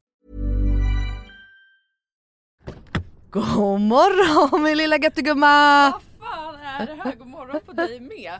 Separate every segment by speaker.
Speaker 1: God morgon min lilla göttegumma!
Speaker 2: fan är det här? God morgon på dig med.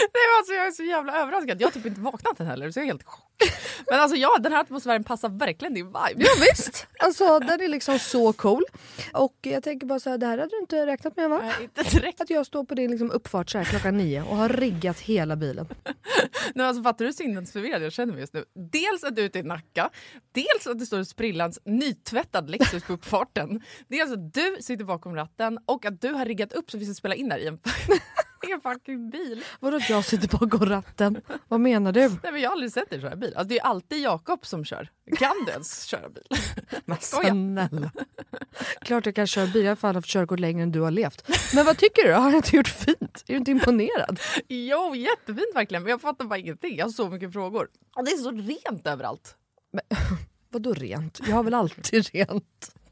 Speaker 2: Nej, men alltså, jag är så jävla överraskad, jag har typ inte vaknat än heller så jag är helt i chock. Men alltså ja, den här atmosfären passar verkligen din vibe.
Speaker 1: Ja, visst, alltså den är liksom så cool. Och jag tänker bara så här, det här hade du inte räknat med va?
Speaker 2: Nej, inte direkt.
Speaker 1: Att jag står på din liksom uppfart så här klockan nio och har riggat hela bilen.
Speaker 2: Nej, alltså, fattar du hur sinnesförvirrad jag känner mig just nu? Dels att du är ute i Nacka, dels att det står en sprillans nytvättad Lexus på uppfarten. Dels att du sitter bakom ratten och att du har riggat upp så vi ska spela in där i en, i en fucking bil.
Speaker 1: Vadå att jag sitter bakom ratten? Vad menar du?
Speaker 2: Nej, men jag har aldrig sett dig köra bil. Alltså, det är alltid Jakob som kör. Kan du ens köra bil?
Speaker 1: Men
Speaker 2: Skoja.
Speaker 1: snälla. Klart jag kan köra bil, jag har fan haft körkort längre än du har levt. Men vad tycker du? Har jag inte gjort fint? Är du inte imponerad?
Speaker 2: Jo, jättefint verkligen. Men jag fattar bara ingenting. Jag har så mycket frågor. Och det är så rent överallt.
Speaker 1: Vadå rent? Jag har väl alltid rent.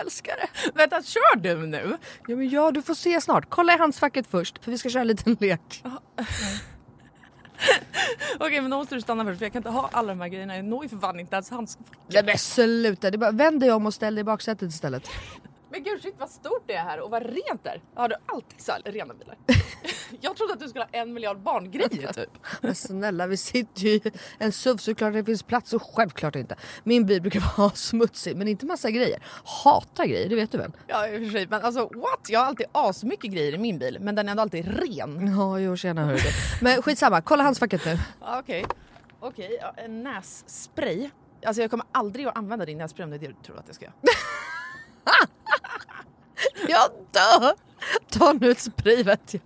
Speaker 1: Älskar det.
Speaker 2: Vänta, kör du nu?
Speaker 1: Ja, men ja, du får se snart. Kolla i handskfacket först, för vi ska köra en liten lek.
Speaker 2: Okej, men då måste du stanna först för jag kan inte ha alla de här grejerna. Jag når ju för fan inte ens hans...
Speaker 1: Nej men sluta, det är bara, vänd dig om och ställ dig i baksätet istället.
Speaker 2: Men gud shit vad stort det är här och vad rent det är. Har du alltid så här rena bilar? jag trodde att du skulle ha en miljard barngrejer typ.
Speaker 1: Men snälla, vi sitter ju i en SUV såklart det finns plats och självklart inte. Min bil brukar vara smutsig, men inte massa grejer. Hatar grejer, det vet du väl?
Speaker 2: Ja i och för sig, men alltså what? Jag har alltid asmycket grejer i min bil men den är ändå alltid ren.
Speaker 1: Ja, jo tjena hörru du. Men skitsamma, kolla handskfacket nu.
Speaker 2: Ja, Okej, okej, ja, en nässpray. Alltså jag kommer aldrig att använda din nässpray om det är det du tror att jag ska göra.
Speaker 1: Jag dör! Ta nu ett spray vet jag.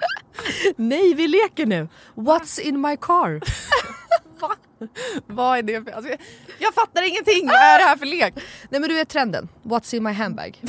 Speaker 1: Nej, vi leker nu. What's in my car?
Speaker 2: Va? Vad är det för... Alltså, jag, jag fattar ingenting! Vad är det här för lek?
Speaker 1: Nej men du vet trenden, what's in my handbag?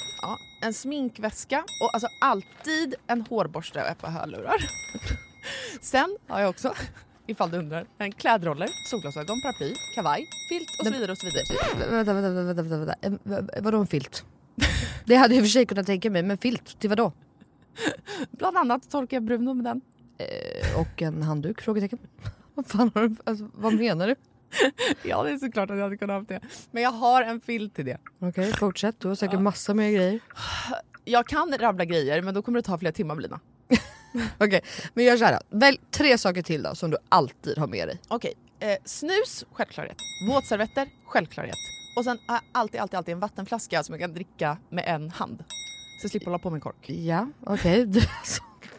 Speaker 2: Ja, en sminkväska och alltså alltid en hårborste och ett par hörlurar. Sen har jag också, ifall du undrar, en klädroller, solglasögon, paraply, kavaj, filt och så vidare och så vidare.
Speaker 1: Vänta, vänta, vänta, vänta, vänta. Eh, v- Vadå en filt? Det hade jag i och för sig kunnat tänka mig, men filt till vadå?
Speaker 2: Bland annat torkar jag Bruno med den.
Speaker 1: Eh, Och en handduk? Frågetecken. Vad fan har du, alltså, vad menar du?
Speaker 2: Ja, det är såklart att jag hade kunnat ha haft det. Men jag har en filt till det.
Speaker 1: Okej, fortsätt. Du har säkert massa mer grejer.
Speaker 2: Jag kan rabbla grejer, men då kommer det ta flera timmar, Lina.
Speaker 1: Okej, men gör så här. då. Välj tre saker till då som du alltid har med dig.
Speaker 2: Okej, eh, snus, självklarhet. Våtservetter, självklarhet. Och sen har jag alltid, alltid, alltid en vattenflaska som jag kan dricka med en hand. Så jag slipper hålla på med en kork.
Speaker 1: Ja, okej. Du, alltså,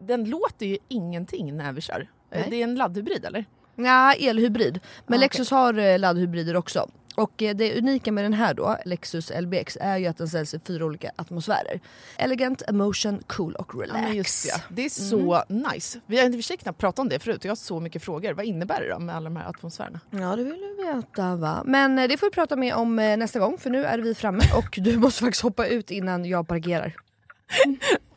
Speaker 2: den låter ju ingenting när vi kör. Eh,
Speaker 1: Nej.
Speaker 2: Det är en laddhybrid eller?
Speaker 1: Nja, elhybrid. Men Lexus har eh, laddhybrider också. Och eh, det unika med den här då, Lexus LBX, är ju att den säljs i fyra olika atmosfärer. Elegant, emotion, cool och relax.
Speaker 2: men just det. Mm. Det är så nice. Vi har inte försökt knappt prata om det förut och jag har så mycket frågor. Vad innebär det då med alla de här atmosfärerna?
Speaker 1: Ja, det vill du veta va? Men eh, det får vi prata med om eh, nästa gång för nu är vi framme och du måste faktiskt hoppa ut innan jag parkerar.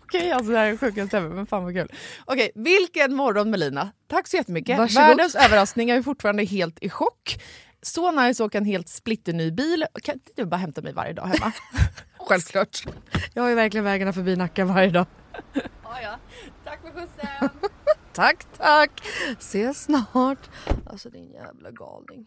Speaker 2: Okej, alltså det här är sjukast ever, men fan vad kul. Okej, vilken morgon Melina. Tack så jättemycket.
Speaker 1: Varsågod.
Speaker 2: Världens överraskning, jag är fortfarande helt i chock. Så nice att åka en helt splitterny bil. Kan inte du bara hämta mig varje dag hemma?
Speaker 1: Självklart. Jag har ju verkligen vägarna förbi Nacka varje dag.
Speaker 2: Tack för skjutsen!
Speaker 1: Tack, tack. Ses snart. Alltså din jävla galning.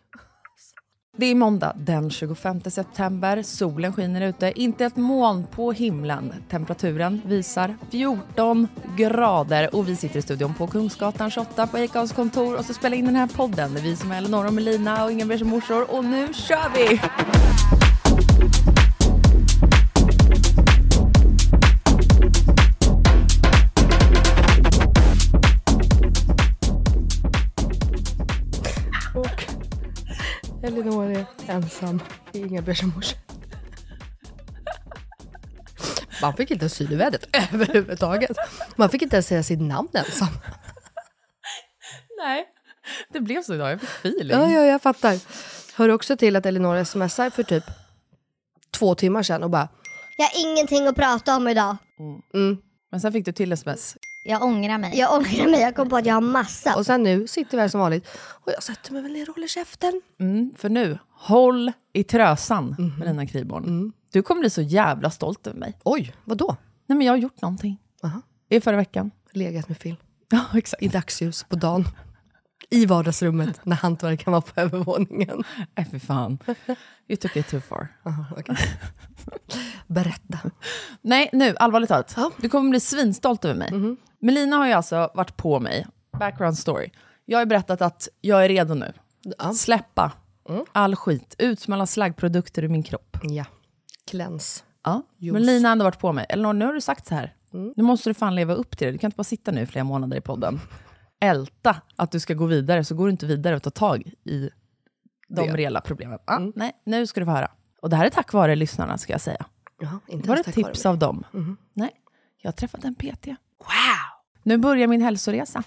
Speaker 2: Det är måndag den 25 september. Solen skiner ute, inte ett moln på himlen. Temperaturen visar 14 grader och vi sitter i studion på Kungsgatan 28 på Icas kontor och så spelar in den här podden. Det är vi som är Elinor och Melina och Inga som morsor och nu kör vi!
Speaker 1: Och Elinor är ensam i Inga-Beige morse. Man fick inte asyl i vädret överhuvudtaget. Man fick inte ens säga sitt namn ensam.
Speaker 2: Nej, det blev så idag. Jag fick feeling.
Speaker 1: Ja, ja, jag fattar. Hör också till att Elinor smsar för typ två timmar sedan och bara
Speaker 3: Jag har ingenting att prata om idag.
Speaker 2: Men sen fick du till sms.
Speaker 4: Jag ångrar mig.
Speaker 3: Jag ångrar mig, jag kom på att jag har massa.
Speaker 1: och sen nu sitter vi här som vanligt och jag sätter mig väl ner och håller käften.
Speaker 2: Mm, för nu, håll i trösan
Speaker 1: Mhm.
Speaker 2: Melina Kriborn.
Speaker 1: Mm.
Speaker 2: Du kommer bli så jävla stolt över mig.
Speaker 1: Oj, vad då?
Speaker 2: Nej men jag har gjort någonting.
Speaker 1: Aha.
Speaker 2: I förra veckan.
Speaker 1: Legat med film
Speaker 2: Ja, exakt.
Speaker 1: i dagsljus på dagen i vardagsrummet när hantverkaren var på övervåningen.
Speaker 2: Nej, fy fan. You took it too far.
Speaker 1: Aha, okej. Berätta.
Speaker 2: Nej, nu, allvarligt talat. Du kommer bli svinstolt över mig.
Speaker 1: Mhm.
Speaker 2: Melina har ju alltså varit på mig. Background story. Jag har ju berättat att jag är redo nu. Släppa
Speaker 1: Mm.
Speaker 2: all skit. Ut med alla slaggprodukter ur min kropp.
Speaker 1: Ja. Kläns.
Speaker 2: Ja, men Lina har ändå varit på mig. Elinor, nu har du sagt så här.
Speaker 1: Mm.
Speaker 2: Nu måste du fan leva upp till det. Du kan inte bara sitta nu i flera månader i podden. Älta att du ska gå vidare, så går du inte vidare och tar tag i de reella problemen. Ja,
Speaker 1: Mm.
Speaker 2: Nej, nu ska du få höra. Och det här är tack vare lyssnarna, ska jag säga.
Speaker 1: Jaha, inte
Speaker 2: Var det
Speaker 1: ens
Speaker 2: ett
Speaker 1: tack vare
Speaker 2: tips
Speaker 1: mig. Mm.
Speaker 2: av dem? Nej, jag har träffat en PT. Wow! Nu börjar min hälsoresa.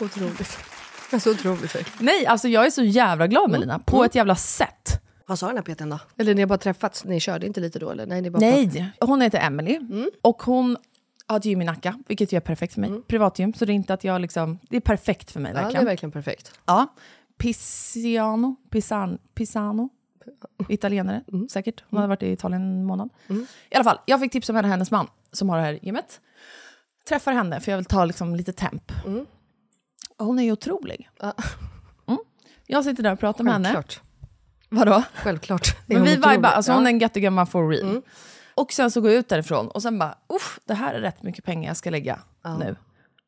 Speaker 1: Otroligt. Alltså otroligt verkligen.
Speaker 2: Nej, alltså jag är så jävla glad
Speaker 1: Mm.
Speaker 2: med Lina. På ett jävla sätt.
Speaker 1: Vad sa den här peten då? Eller ni har bara träffats, ni körde inte lite då eller? Nej, ni bara
Speaker 2: Nej, hon heter Emily
Speaker 1: Mm.
Speaker 2: och hon har ett gym i Nacka, vilket ju är perfekt för mig. Privatgym, så det är inte att jag liksom... Det är perfekt för mig
Speaker 1: Ja, det är
Speaker 2: verkligen.
Speaker 1: verkligen perfekt.
Speaker 2: Ja. Pisano, Pisan, Pisano. Italienare,
Speaker 1: Mm.
Speaker 2: säkert. Hon hade varit i Italien en månad. I alla fall, jag fick tips av henne, hennes man som har det här gymmet. Träffar henne, för jag vill ta liksom lite temp. Och Hon är ju otrolig.
Speaker 1: Mm. Ja.
Speaker 2: Mm. Jag sitter där och pratar med henne.
Speaker 1: Självklart.
Speaker 2: Vadå?
Speaker 1: Självklart. Det är
Speaker 2: Men vi
Speaker 1: hon otrolig.
Speaker 2: vibar, alltså
Speaker 1: Ja. Mm.
Speaker 2: hon är en göttegumma for real. Och sen så går jag ut därifrån och sen bara, uff, det här är rätt mycket pengar jag ska lägga nu.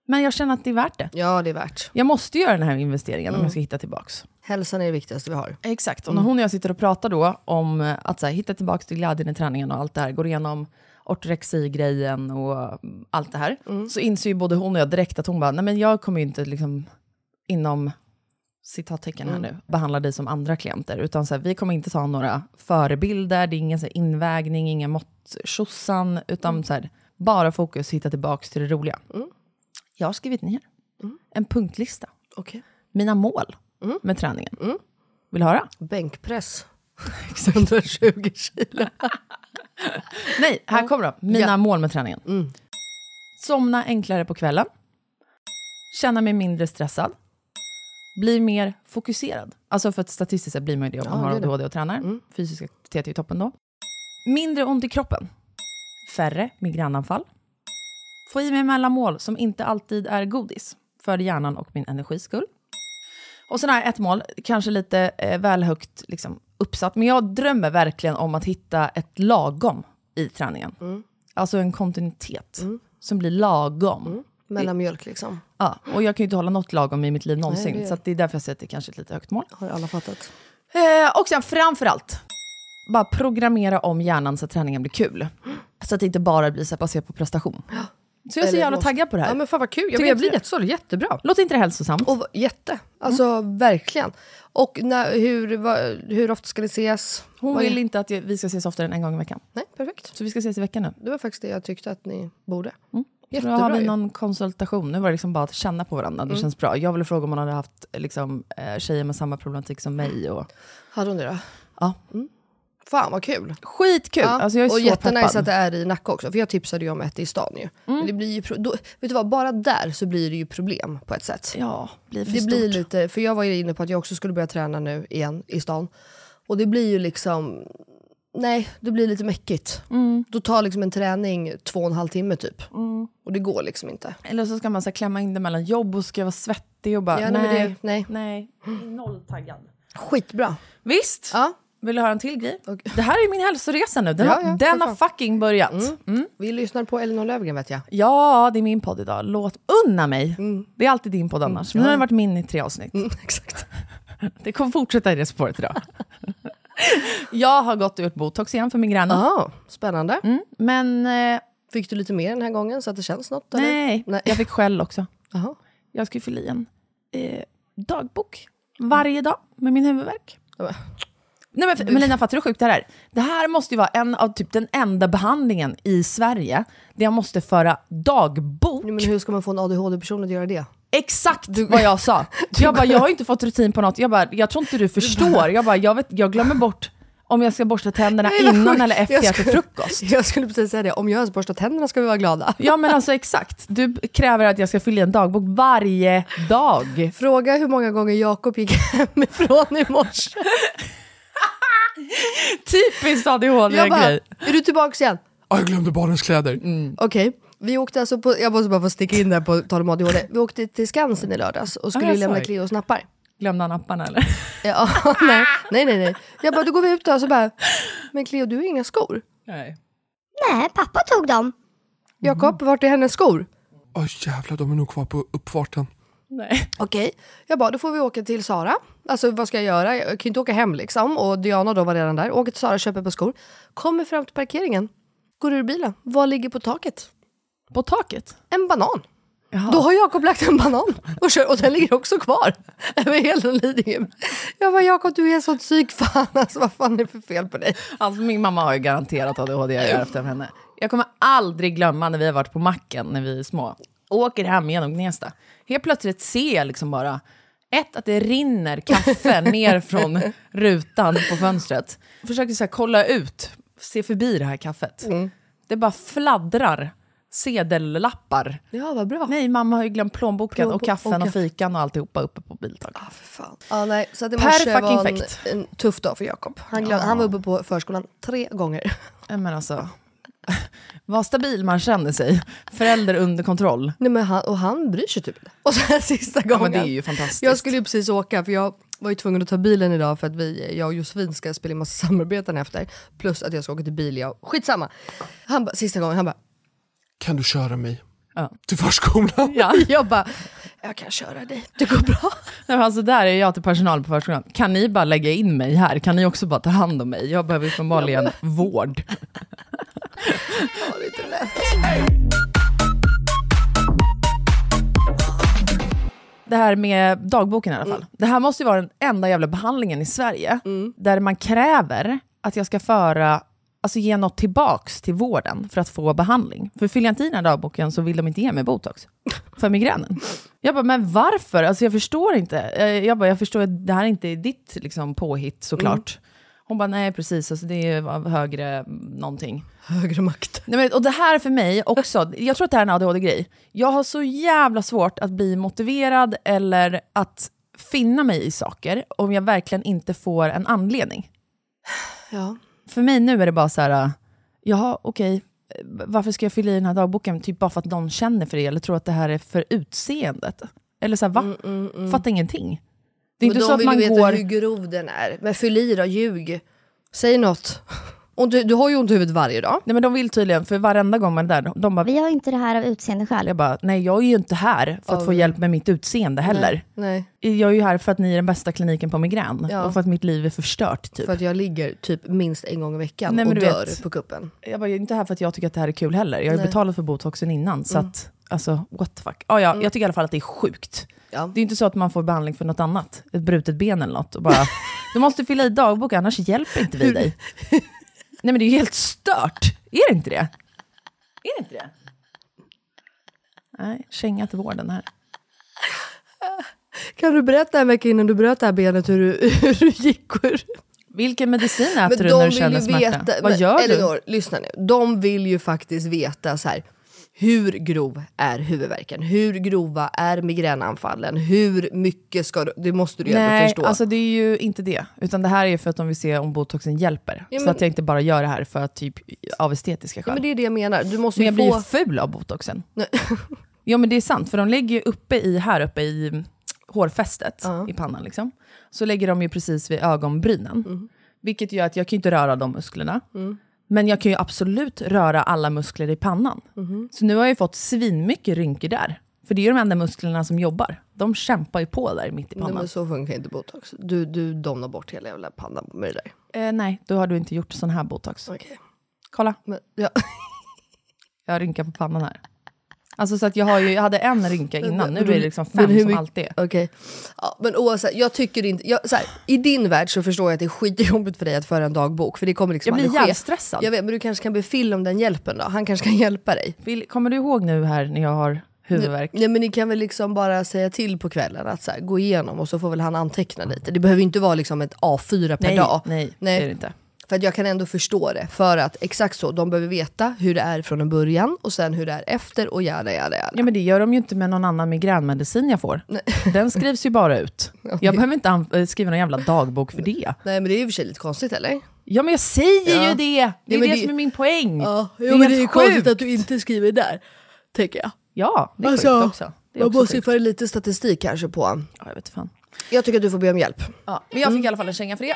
Speaker 2: Men jag känner att det är värt det.
Speaker 1: Ja, det är värt.
Speaker 2: Jag måste göra den här investeringen
Speaker 1: Mm.
Speaker 2: om jag ska hitta tillbaks.
Speaker 1: Hälsan är det viktigaste vi har.
Speaker 2: Exakt, och när hon och jag sitter och pratar då om eh, att så här, hitta tillbaka till glädjen i träningen och allt det här, går igenom ortorexi-grejen och mm, allt det här, så inser ju både hon och jag direkt att hon bara, nej men jag kommer ju inte liksom inom citattecken här nu, behandla dig som andra klienter, utan så här, vi kommer inte ta några förebilder, det är ingen så här, invägning, ingen måtttjosan, utan så här, bara fokus hitta tillbaka till det roliga. Jag har skrivit ner en punktlista
Speaker 1: Okej.
Speaker 2: mina mål med träningen. Vill du höra?
Speaker 1: Bänkpress. 120 kilo.
Speaker 2: Nej, här kommer de. Mina mål med träningen.
Speaker 1: Mm.
Speaker 2: Somna enklare på kvällen. Känna mig mindre stressad. Bli mer fokuserad. Alltså för att statistiskt sett blir man ju det om man
Speaker 1: Ja,
Speaker 2: har
Speaker 1: det Mm. är det.
Speaker 2: ADHD och tränar. Fysisk aktivitet är ju toppen då. Mindre ont i kroppen. Färre migränanfall. Få i mig mellanmål som inte alltid är godis. För hjärnan och min energis skull. Och sen har jag ett mål, kanske lite eh, väl högt liksom, uppsatt, men jag drömmer verkligen om att hitta ett lagom i träningen.
Speaker 1: Mm.
Speaker 2: Alltså en kontinuitet som blir lagom.
Speaker 1: Mm. Mellanmjölk liksom.
Speaker 2: Ja, och jag kan ju inte hålla något lagom i mitt liv någonsin,
Speaker 1: det är-
Speaker 2: så att det är därför jag säger att det kanske är ett lite högt mål.
Speaker 1: Har ju alla fattat.
Speaker 2: Eh, och sen framför allt, bara programmera om hjärnan så att träningen blir kul. Så att det inte bara blir så här baserat på prestation. Så jag är så
Speaker 1: Eller
Speaker 2: jävla
Speaker 1: måste-
Speaker 2: taggad på det här.
Speaker 1: Ja men fan vad kul. Jag,
Speaker 2: Tycker
Speaker 1: men jag
Speaker 2: du
Speaker 1: blir
Speaker 2: inte det?
Speaker 1: jättesorglig. Jättebra.
Speaker 2: Låter inte det hälsosamt?
Speaker 1: Och v- jätte. Alltså
Speaker 2: Mm.
Speaker 1: verkligen. Och när, hur, va, hur ofta ska ni ses?
Speaker 2: Hon
Speaker 1: Vad är-
Speaker 2: vill inte att jag- vi ska ses oftare än en gång i veckan.
Speaker 1: Nej, perfekt.
Speaker 2: Så vi ska ses i veckan nu.
Speaker 1: Det var faktiskt det jag tyckte att ni borde.
Speaker 2: Jättebra. Nu har
Speaker 1: Jättebra
Speaker 2: vi
Speaker 1: ju. Mm.
Speaker 2: någon konsultation. Nu var det liksom bara att känna på varandra. Det känns bra. Jag ville fråga om hon hade haft liksom, eh, tjejer med samma problematik som
Speaker 1: Mm.
Speaker 2: mig. Och...
Speaker 1: Hade hon det då? Mm.
Speaker 2: Ja.
Speaker 1: Fan vad kul.
Speaker 2: Skitkul! Alltså, jag är
Speaker 1: och
Speaker 2: så
Speaker 1: jättenice
Speaker 2: peppad. Mm.
Speaker 1: att det är i Nacka också, för jag tipsade ju om ett i stan ju. Men det blir ju pro- då, vet du vad, bara där så blir det ju problem på ett sätt.
Speaker 2: Ja, blir för
Speaker 1: det
Speaker 2: stort.
Speaker 1: blir lite, för jag var ju inne på att jag också skulle börja träna nu igen i stan. Och det blir ju liksom, nej, det blir lite mäckigt.
Speaker 2: Mm.
Speaker 1: Då tar liksom en träning två och en halv timme typ. Och det går liksom inte.
Speaker 2: Eller så ska man så här, klämma in det mellan jobb och ska vara svettig och bara
Speaker 1: Ja, nej,
Speaker 2: nej.
Speaker 1: men det- nej.
Speaker 2: nej. Noll taggad.
Speaker 1: Skitbra.
Speaker 2: Visst!
Speaker 1: Ja,
Speaker 2: Vill du höra en till grej? Det här är min hälsoresa nu. Den,
Speaker 1: Ja,
Speaker 2: har,
Speaker 1: ja,
Speaker 2: den
Speaker 1: för
Speaker 2: har
Speaker 1: fan.
Speaker 2: fucking börjat. Mm.
Speaker 1: vi lyssnar på Elinor Löfgren vet jag.
Speaker 2: Ja, det är min podd idag. Låt unna mig.
Speaker 1: Mm.
Speaker 2: Det är alltid din podd annars. Men nu har det varit min i tre avsnitt.
Speaker 1: Exakt.
Speaker 2: Det kommer fortsätta i det spåret idag. jag har gått och gjort botox igen för migränen.
Speaker 1: Ja, spännande.
Speaker 2: Mm, men eh,
Speaker 1: Fick du lite mer den här gången så att det känns något? eller?
Speaker 2: nej,
Speaker 1: Nej.
Speaker 2: jag fick skäll också.
Speaker 1: Jaha.
Speaker 2: Jag ska ju fylla i en eh, dagbok varje dag med min huvudvärk.
Speaker 1: Ja,
Speaker 2: Nej, men, men Lina, fattar du hur sjukt det här är? Det här måste ju vara en av typ den enda behandlingen i Sverige där jag måste föra dagbok.
Speaker 1: Men hur ska man få en ADHD-person att göra det?
Speaker 2: Exakt vad jag sa. Jag bara, jag har inte fått rutin på något. Jag bara, jag tror inte du förstår. Jag bara, jag, vet, jag glömmer bort om jag ska borsta tänderna
Speaker 1: Nej, vad
Speaker 2: innan
Speaker 1: sjukt.
Speaker 2: eller efter jag äter
Speaker 1: skulle-
Speaker 2: frukost.
Speaker 1: Jag skulle precis säga det, om jag ens borstar tänderna ska vi vara glada.
Speaker 2: Ja men alltså exakt. Du kräver att jag ska fylla i en dagbok varje dag.
Speaker 1: Fråga hur många gånger Jakob gick hemifrån i morse.
Speaker 2: Typiskt
Speaker 1: Jag bara,
Speaker 2: ADHD-grej.
Speaker 1: är du tillbaka igen?
Speaker 4: Ja, Jag glömde barnens kläder.
Speaker 1: Okej, vi åkte alltså på, jag måste bara få sticka in där på tal om ADHD. Vi åkte till Skansen i lördags och skulle
Speaker 2: Ah, jag
Speaker 1: lämna
Speaker 2: såg.
Speaker 1: Cleos nappar.
Speaker 2: Glömde han apparna eller?
Speaker 1: Ja, nej, nej, nej, nej. Jag bara, då går vi ut då och så bara, men Cleo du har inga skor.
Speaker 2: Nej.
Speaker 3: Nej, pappa tog dem.
Speaker 1: Jakob, vart är hennes skor?
Speaker 4: Åh jävlar, de är nog kvar på uppfarten.
Speaker 2: Nej.
Speaker 1: Okej, jag bara då får vi åka till Sara. Alltså vad ska jag göra? Jag kan ju inte åka hem liksom. Och Diana då var redan där. Åker till Sara, köper på skor. Kommer fram till parkeringen. Går ur bilen. Vad ligger på taket?
Speaker 2: På taket?
Speaker 1: En banan. Då har Jakob lagt en banan och, kör, och den ligger också kvar över hela Lidingö. Jag bara Jakob du är sånt psykfan, alltså vad fan är det för fel på dig?
Speaker 2: Alltså min mamma har ju garanterat ADHD jag gör efter henne. Jag kommer aldrig glömma när vi har varit på macken när vi är små. Åker hem genom Gnesta. Helt plötsligt ser jag liksom bara, ett att det rinner kaffe ner från rutan på fönstret. Försöker så här kolla ut, se förbi det här kaffet. Det bara fladdrar sedellappar.
Speaker 1: Ja vad bra.
Speaker 2: Nej, mamma har ju glömt plånboken och
Speaker 1: Plånbok-
Speaker 2: kaffen
Speaker 1: och
Speaker 2: och
Speaker 1: kaffe.
Speaker 2: fikan och alltihopa uppe på biltaket.
Speaker 1: För fan. Ja, nej, så att i
Speaker 2: Per
Speaker 1: morse
Speaker 2: fucking
Speaker 1: var en,
Speaker 2: fact.
Speaker 1: en tuff dag för Jakob. Han, glöm, han var uppe på förskolan tre gånger.
Speaker 2: Nej, Men alltså, vad stabil man känner sig. Förälder under kontroll.
Speaker 1: Nej, men han, och han bryr sig typ inte. Och sen sista
Speaker 2: Ja,
Speaker 1: gången.
Speaker 2: men det är ju fantastiskt.
Speaker 1: Jag skulle ju precis åka för jag var ju tvungen att ta bilen idag för att vi, jag och Josefin ska spela in massa samarbeten efter. Plus att jag ska åka till Bilia. Skitsamma. Han bara, sista gången, han bara,
Speaker 4: Kan du köra mig?
Speaker 2: Ja.
Speaker 4: till förskolan.
Speaker 2: Ja.
Speaker 1: Jag bara, jag kan köra dig, det går bra.
Speaker 2: Nej, men alltså där är jag till personal på förskolan. Kan ni bara lägga in mig här? Kan ni också bara ta hand om mig? Jag behöver uppenbarligen vård. Det här med dagboken i alla fall. Det här måste ju vara den enda jävla behandlingen i Sverige där man kräver att jag ska föra, alltså ge något tillbaks till vården för att få behandling. För fyller jag inte i den här dagboken så vill de inte ge mig botox för migränen. Jag bara, men varför? Alltså jag förstår inte. Eh, Jag bara, jag förstår att det här inte är ditt liksom, påhitt såklart. Hon bara, nej precis, alltså, det är av högre någonting.
Speaker 1: Högre makt.
Speaker 2: Nej, men, och det här för mig också, jag tror att det här är en ADHD-grej. Jag har så jävla svårt att bli motiverad eller att finna mig i saker om jag verkligen inte får en anledning.
Speaker 1: Ja.
Speaker 2: För mig nu är det bara så här, äh, jaha okej, eh, varför ska jag fylla i den här dagboken? Typ bara för att någon känner för det eller tror att det här är för utseendet. Eller så här, va? Fattar ingenting. Det är
Speaker 1: Mm, Men de
Speaker 2: inte så att
Speaker 1: vill
Speaker 2: man
Speaker 1: ju veta
Speaker 2: går...
Speaker 1: hur grov den är. Men fyll i då, ljug. Säg något. Och du, du har ju ont i huvudet varje dag.
Speaker 2: Nej men de vill tydligen, för varenda gång man är där, de bara,
Speaker 3: Vi har inte det här av utseendeskäl.
Speaker 2: jag bara, nej jag är ju inte här för att få hjälp med mitt utseende heller.
Speaker 1: Nej,
Speaker 2: Jag är ju här för att ni är den bästa kliniken på migrän
Speaker 1: Ja.
Speaker 2: och för att mitt liv är förstört. Typ.
Speaker 1: för att jag ligger typ minst en gång i veckan
Speaker 2: Nej, men
Speaker 1: och
Speaker 2: du
Speaker 1: dör
Speaker 2: vet.
Speaker 1: på kuppen.
Speaker 2: Jag bara, jag är inte här för att jag tycker att det här är kul heller. Jag har ju betalat för botoxen innan. Så
Speaker 1: Mm.
Speaker 2: att, alltså, what the fuck. Ah, ja, Jag tycker i alla fall att det är sjukt.
Speaker 1: Ja.
Speaker 2: Det är ju inte så att man får behandling för något annat. Ett brutet ben eller något. Och bara, du måste fylla i dagbok annars hjälper inte vi dig. Nej men det är ju helt stört. Är det inte det? Är det inte det? Nej, känga till vården här.
Speaker 1: Kan du berätta en vecka innan du bröt det här benet hur du, hur du gick? Och hur...
Speaker 2: Vilken medicin äter du när du känner smärta? Vad
Speaker 1: men
Speaker 2: gör du?
Speaker 1: Elinor, lyssna nu. De vill ju faktiskt veta så här. Hur grov är huvudvärken? Hur grova är migränanfallen? Hur mycket ska du... Det måste du ju ändå
Speaker 2: Nej,
Speaker 1: förstå.
Speaker 2: alltså det är ju inte det. Utan det här är ju för att de vill se om botoxen hjälper. Så
Speaker 1: men-
Speaker 2: att jag inte bara gör det här för att typ av estetiska
Speaker 1: ja,
Speaker 2: skäl.
Speaker 1: men
Speaker 2: men,
Speaker 1: det är det jag menar. Du måste
Speaker 2: jag
Speaker 1: ju
Speaker 2: blir
Speaker 1: få...
Speaker 2: ju ful av botoxen. Ja men det är sant, för de lägger ju uppe i, här uppe i mm, hårfästet i pannan liksom. Så lägger de ju precis vid ögonbrynen.
Speaker 1: Mm.
Speaker 2: Vilket gör att jag kan ju inte röra de musklerna. Men jag kan ju absolut röra alla muskler i pannan.
Speaker 1: Mm-hmm.
Speaker 2: Så nu har jag ju fått svinmycket rynkor där. För det är ju de enda musklerna som jobbar. De kämpar ju på där mitt i
Speaker 1: Nej,
Speaker 2: pannan.
Speaker 1: men så funkar inte botox. Du, du domnar bort hela jävla pannan med det där.
Speaker 2: Eh, nej, då har du inte gjort sån här botox.
Speaker 1: Okej.
Speaker 2: Kolla,
Speaker 1: Men, ja.
Speaker 2: jag rynkar på pannan här. Alltså så att jag, har ju, jag hade en rynka innan, nu är det liksom
Speaker 1: Men
Speaker 2: fem som
Speaker 1: mycket-
Speaker 2: alltid är.
Speaker 1: Okej. Ja, men oavsett, jag tycker inte... Jag, så här, I din värld så förstår jag att det är skitjobbigt för dig att föra en dagbok. För det kommer liksom
Speaker 2: Jag blir
Speaker 1: aldrig ske.
Speaker 2: jävstressad.
Speaker 1: Jag vet, men du kanske kan be Phil om den hjälpen då? Han kanske kan hjälpa dig?
Speaker 2: Vill, kommer du ihåg nu här när jag har huvudvärk?
Speaker 1: Nej men ni kan väl liksom bara säga till på kvällen att så här, gå igenom och så får väl han anteckna lite. Det behöver ju inte vara liksom ett A4 per
Speaker 2: Nej,
Speaker 1: dag.
Speaker 2: nej, det är det inte.
Speaker 1: För att jag kan ändå förstå det. För att exakt så, de behöver veta hur det är från en början och sen hur det är efter och jada jada jada.
Speaker 2: Ja men det gör de ju inte med någon annan migränmedicin jag får. Den skrivs ju bara ut. Jag behöver inte an- eh, skriva någon jävla dagbok för det.
Speaker 1: Nej men det är ju i och för sig lite konstigt eller?
Speaker 2: Ja men jag säger
Speaker 1: Ja.
Speaker 2: ju det! Det
Speaker 1: men
Speaker 2: är det,
Speaker 1: det-
Speaker 2: som är min poäng.
Speaker 1: Ja,
Speaker 2: det är
Speaker 1: jo, men
Speaker 2: helt
Speaker 1: det är ju
Speaker 2: sjukt.
Speaker 1: konstigt att du inte skriver där, tänker jag.
Speaker 2: Ja, det är
Speaker 1: Alltså,
Speaker 2: sjukt också. Det är
Speaker 1: man
Speaker 2: också
Speaker 1: måste ju
Speaker 2: sjukt.
Speaker 1: föra lite statistik kanske på.
Speaker 2: Ja, jag vet fan.
Speaker 1: Jag tycker att du får be om hjälp.
Speaker 2: Ja, men jag fick i alla fall en känga för det.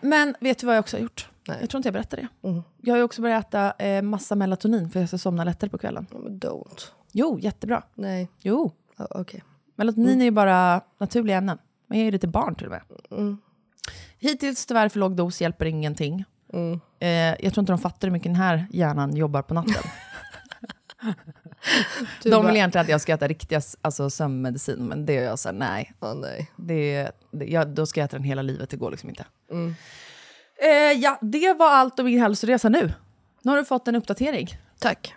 Speaker 2: Men vet du vad jag också har gjort? Jag tror inte jag berättade det. Jag har ju också börjat äta eh, massa melatonin för jag ska somna lättare på kvällen.
Speaker 1: Ja, men Don't.
Speaker 2: Jo, jättebra.
Speaker 1: Nej,
Speaker 2: Jo,
Speaker 1: ja, okej.
Speaker 2: melatonin
Speaker 1: Mm.
Speaker 2: är ju bara naturliga ämnen. Man ger ju det till barn till och med.
Speaker 1: Mm.
Speaker 2: Hittills tyvärr för låg dos hjälper ingenting.
Speaker 1: Mm.
Speaker 2: Eh, jag tror inte de fattar hur mycket den här hjärnan jobbar på natten.
Speaker 1: Du
Speaker 2: de
Speaker 1: bara,
Speaker 2: vill egentligen att jag ska äta riktiga alltså, sömnmedicin, men det gör jag så här, nej,
Speaker 1: "Ah, nej.
Speaker 2: Det, det, ja, då ska jag äta den hela livet, det går liksom inte.
Speaker 1: Mm.
Speaker 2: Eh, ja, det var allt om min hälsoresa nu. Nu har du fått en uppdatering.
Speaker 1: Tack.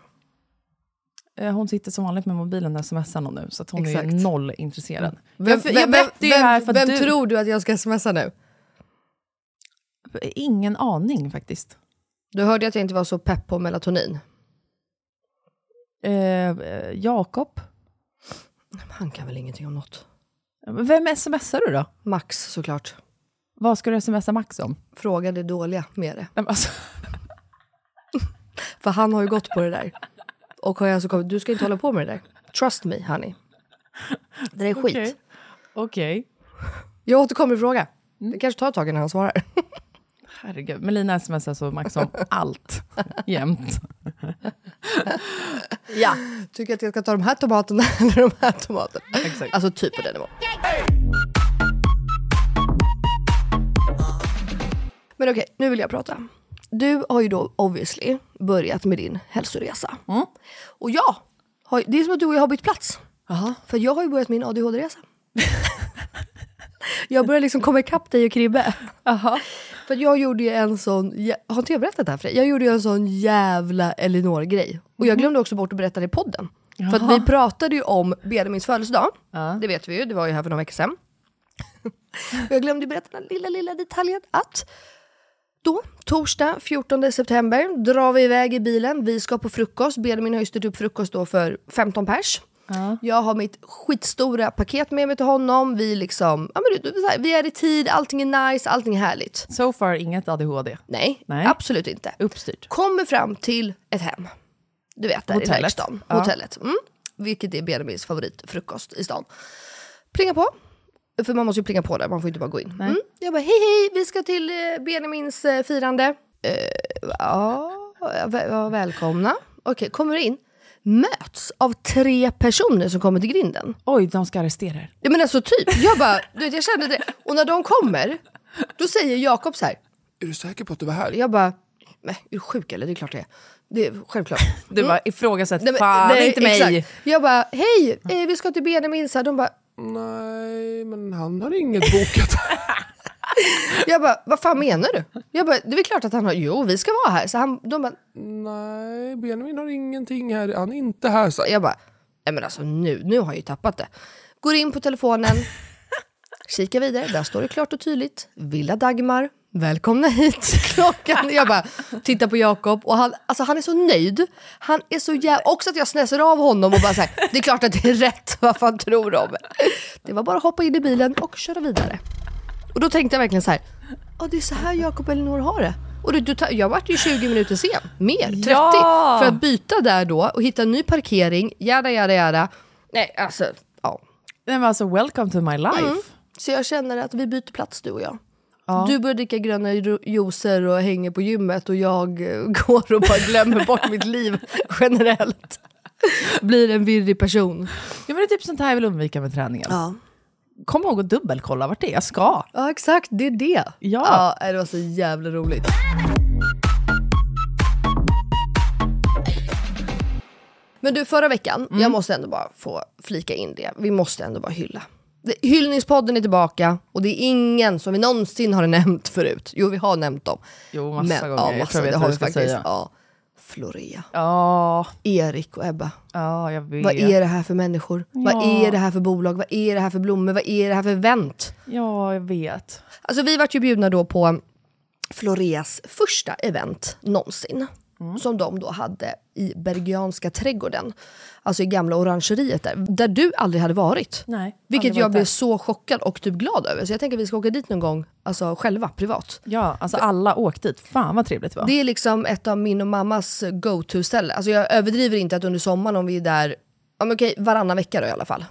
Speaker 2: Eh, hon sitter som vanligt med mobilen och smsar någon nu, så att hon är
Speaker 1: Exakt. Mm.
Speaker 2: ju noll intresserad.
Speaker 1: Vem,
Speaker 2: jag, för- jag berättar ju här för att
Speaker 1: vem
Speaker 2: du...
Speaker 1: tror du att jag ska smsa nu?
Speaker 2: Ingen aning faktiskt.
Speaker 1: Du hörde att jag inte var så pepp på melatonin.
Speaker 2: Eh, eh, Jakob?
Speaker 1: Han kan väl ingenting om något.
Speaker 2: Vem smsar du då?
Speaker 1: Max såklart.
Speaker 2: Vad ska du smsa Max om?
Speaker 1: Fråga det dåliga med det.
Speaker 2: Nej, men Alltså,
Speaker 1: För han har ju gått på det där. Och har jag alltså kommit, du ska inte hålla på med det där. Trust me honey. Det där är skit.
Speaker 2: Okej. Okej. Mm.
Speaker 1: Jag återkommer i fråga. Det kanske tar ett tag innan han svarar.
Speaker 2: Herregud. Melina smsar så Max om allt, jämt.
Speaker 1: Ja. Tycker att jag ska ta de här tomaterna eller de här tomaterna?
Speaker 2: Exakt.
Speaker 1: Alltså typ på den nivån. Men okej, nu vill jag prata. Du har ju då obviously börjat med din hälsoresa. Och jag, har, det är som att du och jag har bytt plats. För jag har ju börjat min ADHD-resa. jag börjar liksom komma ikapp dig och Kribbe. För jag gjorde ju en sån, jä- har inte jag berättat det här för dig? Jag gjorde ju en sån jävla Elinor-grej. Och jag glömde också bort att berätta det i podden. För att vi pratade ju om Benjamins födelsedag. Det vet vi ju, det var ju här för några veckor sedan. Och jag glömde ju berätta den lilla, lilla detaljen att då, torsdag 14 september, drar vi iväg i bilen. Vi ska på frukost. Benjamin har ju styrt upp frukost då för 15 pers. Jag har mitt skitstora paket med mig till honom. Vi, liksom, ja, men du- du- så här, vi är i tid, allting är nice, allting är härligt.
Speaker 2: So far inget ADHD.
Speaker 1: Nej,
Speaker 2: Nej.
Speaker 1: absolut inte.
Speaker 2: Uppstyrt.
Speaker 1: Kommer fram till ett hem. Du vet, där
Speaker 2: Hotellet.
Speaker 1: i verkstaden.
Speaker 2: Ja.
Speaker 1: Hotellet. Mm. Vilket är Benjamins favoritfrukost i stan. Plinga på. För man måste ju plinga på där, man får inte bara gå in. Mm. Jag bara, hej hej, vi ska till eh, Benjamins eh, firande. Eh, ja, vä- ja, välkomna. Okej, kommer in. Möts av tre personer som kommer till grinden.
Speaker 2: Oj, de ska arrestera er.
Speaker 1: Jag menar så typ, jag bara, du vet, jag kände det. Och när de kommer, då säger Jakob så här,
Speaker 4: Är du säker på att du var här?
Speaker 1: jag bara, nej, är du sjuk eller? Det är klart det är. Det är självklart.
Speaker 2: Du bara ifrågasätt,
Speaker 1: Nej, men-
Speaker 2: fan
Speaker 1: nej,
Speaker 2: inte mig.
Speaker 1: exakt. Jag bara, hej, eh, vi ska till Benjamins här. De bara,
Speaker 4: Nej, men han har inget bokat.
Speaker 1: jag bara, vad fan menar du? Jag bara, det är väl klart att han har, jo vi ska vara här. Så han, de bara,
Speaker 4: Nej, Benjamin har ingenting här. Han är inte här. Så.
Speaker 1: jag bara, nej men alltså nu, nu har jag ju tappat det. Går in på telefonen, kikar vidare, där står det klart och tydligt, Villa Dagmar, välkomna hit, klockan. Jag bara, tittar på Jakob och han, alltså han är så nöjd. Han är så jävla, också att jag snäser av honom och bara såhär, det är klart att det är rätt, vad fan tror de? Det var bara att hoppa in i bilen och köra vidare. Och då tänkte jag verkligen så här, ja det är så här Jakob och Elinor har det. Och du, du, tar- jag vart ju 20 minuter sen, mer, 30.
Speaker 2: Ja!
Speaker 1: För att byta där då och hitta en ny parkering, jada jada jada. Nej alltså, ja.
Speaker 2: Nej, men alltså, welcome to my
Speaker 1: Mm.
Speaker 2: life.
Speaker 1: Så jag känner att vi byter plats du och jag. Du börjar dricka gröna ju- juicer och hänger på gymmet och jag eh, går och bara glömmer bort mitt liv generellt. Blir en virrig person.
Speaker 2: Ja, men det är typ sånt här jag vill undvika med träningen.
Speaker 1: Ja.
Speaker 2: Kom ihåg att dubbelkolla vart det är jag ska.
Speaker 1: Ja exakt, det är det.
Speaker 2: Ja.
Speaker 1: ja äh, det var så jävla roligt. Men du, förra veckan,
Speaker 2: Mm.
Speaker 1: jag måste ändå bara få flika in det. Vi måste ändå bara hylla. Det- Hyllningspodden är tillbaka och det är ingen som vi någonsin har nämnt förut. Jo, vi har nämnt dem.
Speaker 2: Jo, massa gånger.
Speaker 1: Ja,
Speaker 2: Jag
Speaker 1: massa,
Speaker 2: tror jag vet
Speaker 1: det
Speaker 2: vad
Speaker 1: har
Speaker 2: du
Speaker 1: vi
Speaker 2: ska
Speaker 1: faktiskt.
Speaker 2: säga.
Speaker 1: Ja. Florea,
Speaker 2: Ja,
Speaker 1: Erik och Ebba.
Speaker 2: ja jag vet.
Speaker 1: Vad är det här för människor? Vad är det här för bolag? Vad är det här för blommor? Vad är det här för event?
Speaker 2: Ja, jag vet.
Speaker 1: Alltså vi vart ju bjudna då på Floreas första event någonsin. Som de då hade i Bergianska trädgården. Alltså i gamla orangeriet där. Där du aldrig hade varit.
Speaker 2: Nej,
Speaker 1: Vilket
Speaker 2: aldrig
Speaker 1: jag
Speaker 2: varit
Speaker 1: blev
Speaker 2: där.
Speaker 1: så chockad och typ glad över. Så jag tänker att vi ska åka dit någon gång, alltså själva, privat.
Speaker 2: Ja, alltså alla åk dit. Fan vad trevligt det var.
Speaker 1: Det är liksom ett av min och mammas go-to-ställe. Alltså jag överdriver inte att under sommaren om vi är där Ja, men okej, varannan vecka då i alla fall.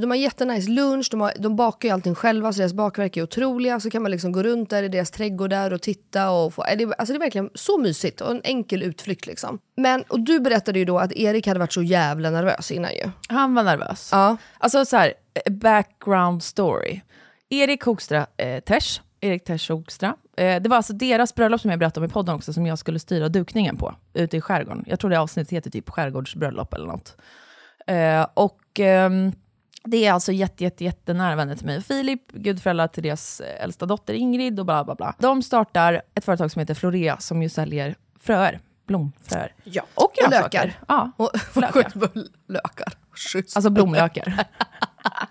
Speaker 1: De har jättenice lunch, de, har, de bakar ju allting själva så deras bakverk är otroliga. Så kan man liksom gå runt där i deras trädgårdar och titta. Och få, äh, det, alltså det är verkligen så mysigt och en enkel utflykt. Liksom. Men, och du berättade ju då att Erik hade varit så jävla nervös innan ju.
Speaker 2: Han var nervös.
Speaker 1: Ja.
Speaker 2: Alltså så här, eh, background story. Erik Hoekstra eh, Tesch, Erik Tesch Hoekstra. Eh, det var alltså deras bröllop som jag berättade om i podden också, som jag skulle styra dukningen på, ute i skärgården. Jag tror det avsnittet heter typ skärgårdsbröllop eller något. Eh, och ehm, det är alltså jätte, jätte, jättenära vänner till mig och Filip, gudföräldrar till deras eh, äldsta dotter Ingrid och bla bla bla. De startar ett företag som heter Florea som ju säljer fröer, blomfröer.
Speaker 1: Ja,
Speaker 2: Och grönsaker.
Speaker 1: lökar.
Speaker 2: Ja,
Speaker 1: Och,
Speaker 2: Lökar.
Speaker 1: lökar. Schysst.
Speaker 2: Alltså blomlökar.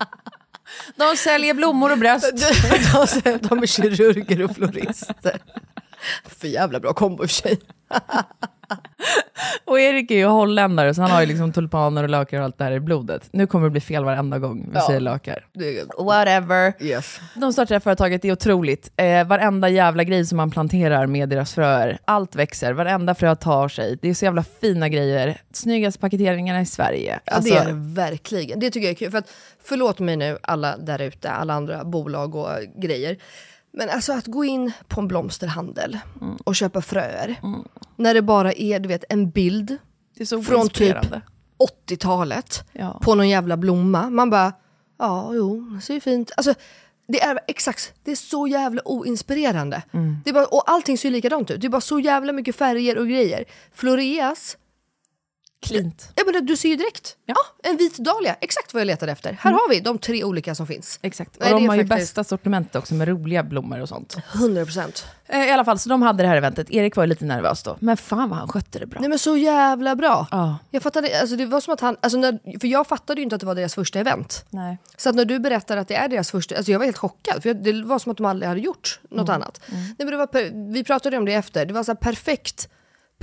Speaker 2: De säljer blommor och bröst.
Speaker 1: de, de är kirurger och florister. För jävla bra kombo i och för sig.
Speaker 2: Och Erik är ju holländare, så han har ju liksom tulpaner och lökar och allt det här i blodet. Nu kommer det bli fel varenda gång vi säger lökar.
Speaker 1: Det är-
Speaker 2: Oh, Whatever.
Speaker 1: Yes.
Speaker 2: De startar det här företaget, det är otroligt. Eh, varenda jävla grej som man planterar med deras fröer, allt växer, varenda frö tar sig. Det är så jävla fina grejer. Snyggaste paketeringarna i Sverige. Alltså,
Speaker 1: Ja, det är det verkligen. Det tycker jag är kul. För att, förlåt mig nu, alla där ute, alla andra bolag och eh, grejer. Men alltså att gå in på en blomsterhandel och köpa fröer, när det bara är du vet, en bild
Speaker 2: Det är så
Speaker 1: Från typ-
Speaker 2: oinspirerande.
Speaker 1: 80-talet
Speaker 2: Ja.
Speaker 1: på någon jävla blomma. Man bara, ja jo, det ser ju fint. Alltså, det är exakt, det är så jävla oinspirerande.
Speaker 2: Mm.
Speaker 1: Det är bara, och allting ser ju likadant ut. Det är bara så jävla mycket färger och grejer. Floreas,
Speaker 2: Klint.
Speaker 1: ja, men det- du ser ju direkt.
Speaker 2: Ja. Mm.
Speaker 1: En vit dahlia, exakt vad jag letade efter. Här har vi de tre olika som finns.
Speaker 2: Exakt. Och
Speaker 1: Nej, det
Speaker 2: de
Speaker 1: är
Speaker 2: har ju
Speaker 1: faktiskt-
Speaker 2: bästa sortimentet också med roliga blommor och sånt.
Speaker 1: 100 procent.
Speaker 2: Eh, I alla fall, så de hade det här eventet. Erik var ju lite nervös då, men fan vad han skötte det bra.
Speaker 1: Nej men så jävla bra.
Speaker 2: Ja.
Speaker 1: Jag fattade, alltså det var som att han, alltså när, för jag fattade ju inte att det var deras första event.
Speaker 2: Nej.
Speaker 1: Så att när du berättar att det är deras första, alltså jag var helt chockad för jag, det var som att de aldrig hade gjort något
Speaker 2: Mm.
Speaker 1: annat. Nej, men det var, per- vi pratade om det efter, det var så här perfekt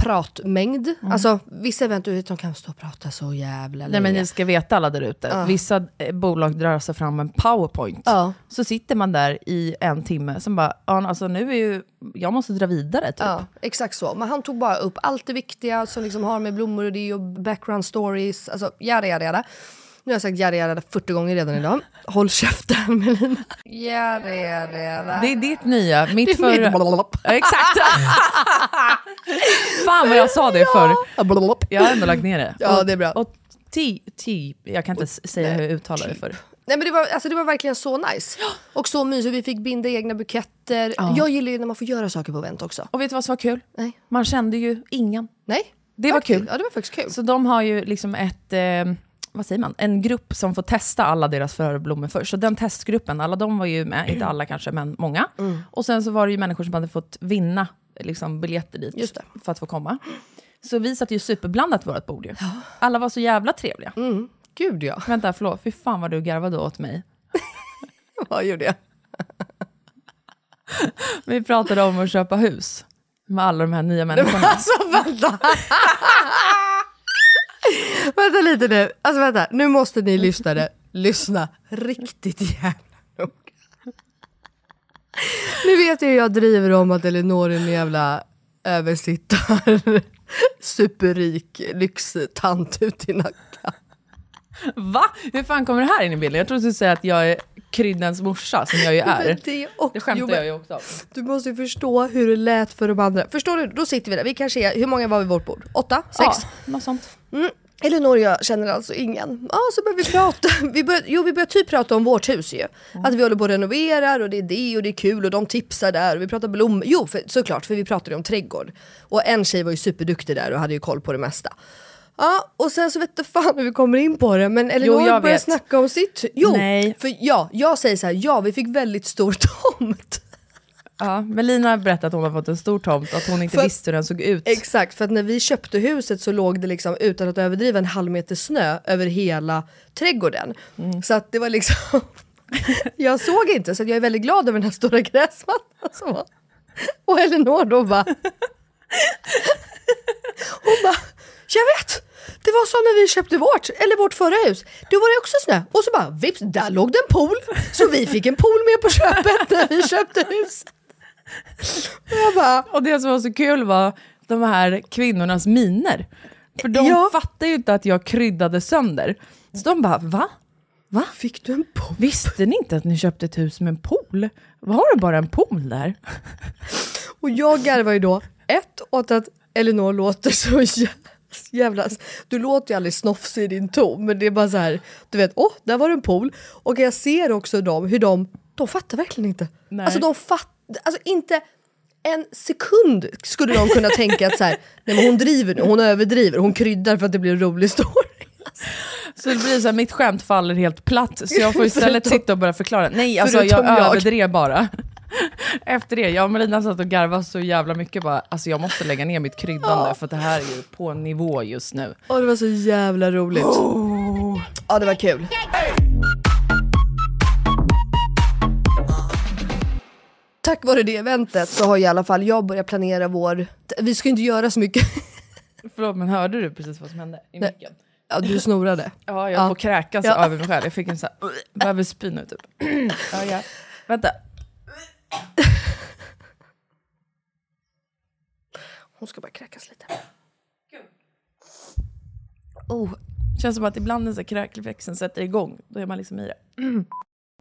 Speaker 1: pratmängd. Alltså vissa event du vet, de kan stå och prata så jävla
Speaker 2: Mm. Nej men
Speaker 1: länge.
Speaker 2: ni ska veta alla där ute, vissa eh, bolag drar sig fram en powerpoint.
Speaker 1: Ja.
Speaker 2: Så sitter man där i en timme, som bara, "Ja, alltså nu är ju, jag måste dra vidare typ.
Speaker 1: Ja, exakt så. Men han tog bara upp allt det viktiga som liksom har med blommor och det och background stories, alltså yada yada yada. Nu har jag sagt yada yada yada 40 gånger redan idag. Håll käften Melina. Yada yada yada.
Speaker 2: Det är ditt nya, mitt
Speaker 1: Det är
Speaker 2: förra...
Speaker 1: mitt blablabla.
Speaker 2: Ja, Exakt! Fan vad jag sa det förr.
Speaker 1: Blablabla.
Speaker 2: Jag har ändå lagt ner det.
Speaker 1: Ja, det är bra.
Speaker 2: Och ti, ti, jag kan inte s- säga hur jag uttalar det förr.
Speaker 1: Nej, men det, var, alltså, det var verkligen så nice. Och så mysigt. Vi fick binda egna buketter. Jag gillar ju när man får göra saker på event också.
Speaker 2: Och vet du vad som var kul?
Speaker 1: Nej.
Speaker 2: Man kände ju ingen.
Speaker 1: Nej?
Speaker 2: Det var
Speaker 1: Faktiskt.
Speaker 2: kul.
Speaker 1: Ja, det var faktiskt kul.
Speaker 2: Så de har ju liksom ett, eh, vad säger man, en grupp som får testa alla deras förhörblommor först. Så den testgruppen, alla de var ju med, inte alla kanske, men många.
Speaker 1: Mm.
Speaker 2: Och sen så var det ju människor som hade fått vinna liksom, biljetter dit
Speaker 1: Just det.
Speaker 2: för att få komma. Så vi satt ju superblandat på vårt bord ju. Alla var så jävla trevliga.
Speaker 1: Mm. Gud ja.
Speaker 2: Vänta, förlåt, fy fan vad du garvade åt mig.
Speaker 1: Vad gjorde jag?
Speaker 2: Vi pratade om att köpa hus med alla de här nya människorna.
Speaker 1: Alltså vänta! vänta lite nu. Alltså vänta, nu måste ni lyssnare lyssna riktigt jävla noga. Ni vet ju hur jag driver om att Elinor är en jävla översittar, superrik lyxtant ut i Nacka.
Speaker 2: Va? Hur fan kommer det här in i bilden? Jag trodde du skulle säga att jag är kryddens morsa, som jag ju är.
Speaker 1: Men det, och,
Speaker 2: Det skämtar
Speaker 1: jo, men
Speaker 2: jag ju också om.
Speaker 1: Du måste ju förstå hur det lät för de andra. Förstår du? Då sitter vi där. Vi kanske är, hur många var vid vårt bord? Åtta? Sex?
Speaker 2: Ja, något sånt.
Speaker 1: Mm. Elinor och jag känner alltså ingen. Ja, så börjar vi prata. Vi börjar, jo, vi börjar typ prata om vårt hus ju.
Speaker 2: Mm.
Speaker 1: Att vi håller på och renoverar och det är det och det är kul och de tipsar där och vi pratar blommor. Jo, för, såklart, för vi pratade ju om trädgård. Och en tjej var ju superduktig där och hade ju koll på det mesta. Ja, och sen så vet du fan hur vi kommer in på det, men Elinor
Speaker 2: jag
Speaker 1: börjar
Speaker 2: vet.
Speaker 1: snacka om sitt. Jo,
Speaker 2: Nej.
Speaker 1: för ja, jag säger så här, ja, vi fick väldigt stor tomt.
Speaker 2: Ja, men Lina har berättat att hon har fått en stor tomt och att hon inte
Speaker 1: För-
Speaker 2: visste hur den såg ut.
Speaker 1: Exakt, för att när vi köpte huset så låg det liksom utan att överdriva en halv meter snö över hela trädgården. Så att det var liksom, jag såg inte så att jag är väldigt glad över den här stora gräsmattan som var. Och Elinor då bara, hon bara, jag vet! Det var som när vi köpte vårt, eller vårt förra hus. Då var det också snö. Och så bara vips, där låg det en pool. Så vi fick en pool med på köpet när vi köpte huset. Och jag bara,
Speaker 2: Och det som var så kul var de här kvinnornas miner. För de
Speaker 1: Ja.
Speaker 2: fattar ju inte att jag kryddade sönder. Så de bara, va?
Speaker 1: fick du en pool?
Speaker 2: Visste ni inte att ni köpte ett hus med en pool? Var det bara en pool där?
Speaker 1: Och jag garvar ju då, ett, åt att Elinor låter så jä- jävla... Du låter ju aldrig snofsig i din ton, men det är bara så här, du vet, åh, där var det en pool. Och jag ser också dem, hur de, de fattar verkligen inte.
Speaker 2: Nej.
Speaker 1: Alltså de fattar, alltså inte en sekund skulle de kunna tänka att så här, nej men hon driver nu, hon överdriver, hon kryddar för att det blir en rolig story.
Speaker 2: Så det blir så här, mitt skämt faller helt platt, så jag får istället
Speaker 1: Förutom-
Speaker 2: sitta och börja förklara. Nej, alltså jag,
Speaker 1: Förutom jag.
Speaker 2: överdrev bara. Efter det, jag och Melina satt och garvade så jävla mycket bara, alltså jag måste lägga ner mitt kryddande för att det här är ju på en nivå just nu.
Speaker 1: Och det var så jävla roligt. Oh. Ja, det var kul. Tack vare det eventet så har i alla fall jag börjat planera vår... Vi ska ju inte göra så mycket.
Speaker 2: Förlåt, men hörde du precis vad som hände i
Speaker 1: Nej.
Speaker 2: micken?
Speaker 1: Ja, du snorade.
Speaker 2: Ja, jag höll på att kräkas
Speaker 1: Ja.
Speaker 2: över mig själv. Jag fick en sån här, behöver spy nu typ. Ja, ja. Vänta.
Speaker 1: Hon ska bara kräkas lite. Oh,
Speaker 2: Känns som att ibland när så här kräkreflexen sätter igång, då är man liksom i det.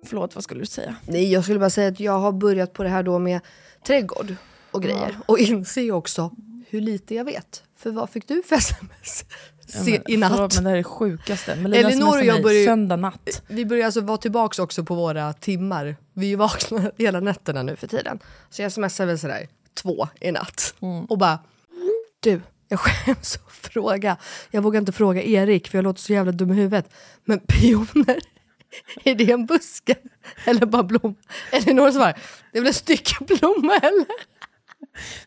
Speaker 2: Förlåt, vad skulle du säga?
Speaker 1: Nej, jag skulle bara säga att jag har börjat på det här då med trädgård och grejer. Och inser ju också hur lite jag vet. För vad fick du för sms se, i
Speaker 2: Förlåt,
Speaker 1: natt?
Speaker 2: men det här är det sjukaste. Melina
Speaker 1: Elinor och
Speaker 2: smsade
Speaker 1: jag
Speaker 2: mig
Speaker 1: började ju-
Speaker 2: söndag natt.
Speaker 1: Vi börjar alltså vara tillbaka också på våra timmar. Vi är ju vakna hela nätterna nu för tiden. Så jag smsar väl sådär två i natt och bara Du, jag skäms att fråga. Jag vågar inte fråga Erik för jag låter så jävla dum i huvudet. Men pioner, är det en buske? Eller bara blom? Eller några svarar, det är väl en stycke blomma eller?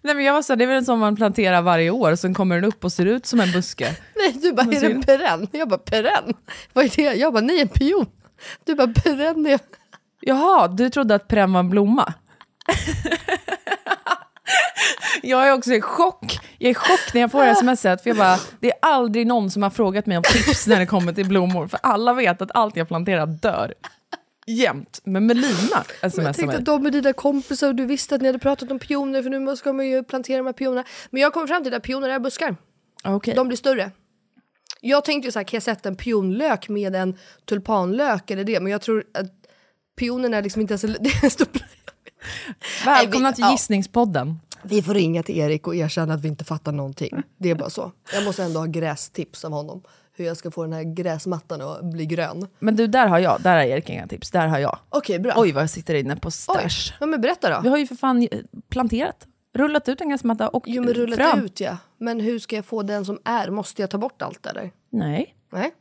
Speaker 2: Nej, men jag var så här, det är väl en som man planterar varje år, sen kommer den upp och ser ut som en buske.
Speaker 1: Nej, du bara, är det en perenn? Jag bara, perenn? Vad är det? Jag bara, nej en pion. Du bara, perenn är...
Speaker 2: Jaha, du trodde att Prem var en blomma? jag är också i chock. Jag är i chock när jag får det här smset. För jag bara, det är aldrig någon som har frågat mig om tips när det kommer till blommor. För alla vet att allt jag planterar dör. Jämt. Men Melina
Speaker 1: Jag
Speaker 2: smsar
Speaker 1: tänkte att
Speaker 2: mig.
Speaker 1: de är dina kompisar och du visste att ni hade pratat om pioner för nu ska man ju plantera de här pionerna. Men jag kom fram till att pioner är buskar.
Speaker 2: Okej.
Speaker 1: De blir större. Jag tänkte ju så här, kan jag sätta en pionlök med en tulpanlök eller det? Men jag tror att pionerna är liksom inte ens... Det är en stor...
Speaker 2: Välkomna
Speaker 1: Nej, vi-
Speaker 2: till
Speaker 1: ja.
Speaker 2: gissningspodden.
Speaker 1: Vi får ringa till Erik och erkänna att vi inte fattar någonting. Det är bara så. Jag måste ändå ha grästips av honom. Hur jag ska få den här gräsmattan att bli grön.
Speaker 2: Men du, där har jag. Där har Erik inga tips. Där har jag.
Speaker 1: Okej, bra.
Speaker 2: Oj, vad jag sitter inne på
Speaker 1: Ah. Oj.
Speaker 2: stash.
Speaker 1: Ja, men berätta då.
Speaker 2: Vi har ju för fan eh, planterat. Rullat ut en gräsmatta och
Speaker 1: Jo men rullat
Speaker 2: frön.
Speaker 1: ut ja. Men hur ska jag få den som är? Måste jag ta bort allt eller?
Speaker 2: Nej.
Speaker 1: Nej.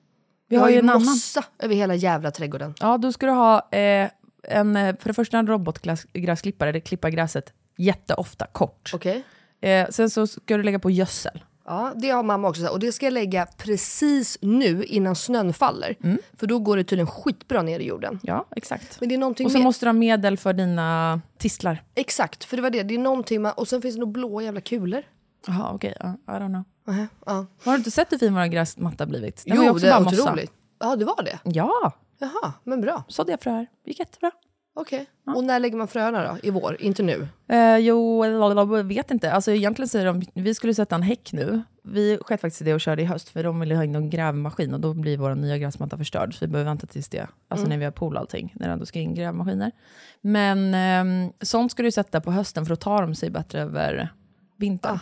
Speaker 2: Vi har, ju en annan.
Speaker 1: mossa över hela jävla trädgården.
Speaker 2: Ja, då ska du ha eh, en, eh, för det första en robotgräsklippare, det klippar gräset jätteofta, kort.
Speaker 1: Okej?
Speaker 2: Eh, sen så ska du lägga på gödsel.
Speaker 1: Ja, det har mamma också sagt. Och det ska jag lägga precis nu innan snön faller.
Speaker 2: Mm.
Speaker 1: För då går det tydligen skitbra ner i jorden.
Speaker 2: Ja, exakt.
Speaker 1: Men det är någonting
Speaker 2: Och så
Speaker 1: med-
Speaker 2: måste du ha medel för dina tistlar.
Speaker 1: Exakt, för det var det. Det är någonting med... Och sen finns det nog blå jävla kulor.
Speaker 2: Jaha, okej. ja, I don't know.
Speaker 1: Nähä, ja.
Speaker 2: Har du inte sett hur fin vår gräsmatta blivit? Den var ju
Speaker 1: Jo,
Speaker 2: också
Speaker 1: det är
Speaker 2: bara mossa.
Speaker 1: otroligt. Ja, det var det?
Speaker 2: Ja,
Speaker 1: Jaha, men bra.
Speaker 2: sådde jag fröer. Det gick jättebra.
Speaker 1: Okej. Och när lägger man fröna då? I vår? Inte nu?
Speaker 2: Eh, jo, lalalala, vet inte. Alltså, egentligen säger de vi skulle sätta en häck nu. Vi sket faktiskt i det och körde i höst, för de ville ha in en grävmaskin och då blir vår nya gräsmatta förstörd. Så vi behöver vänta tills det, alltså när vi har pool och allting, när det ändå ska in grävmaskiner. Men ehm, sånt ska du sätta på hösten för att ta dem sig bättre över vintern.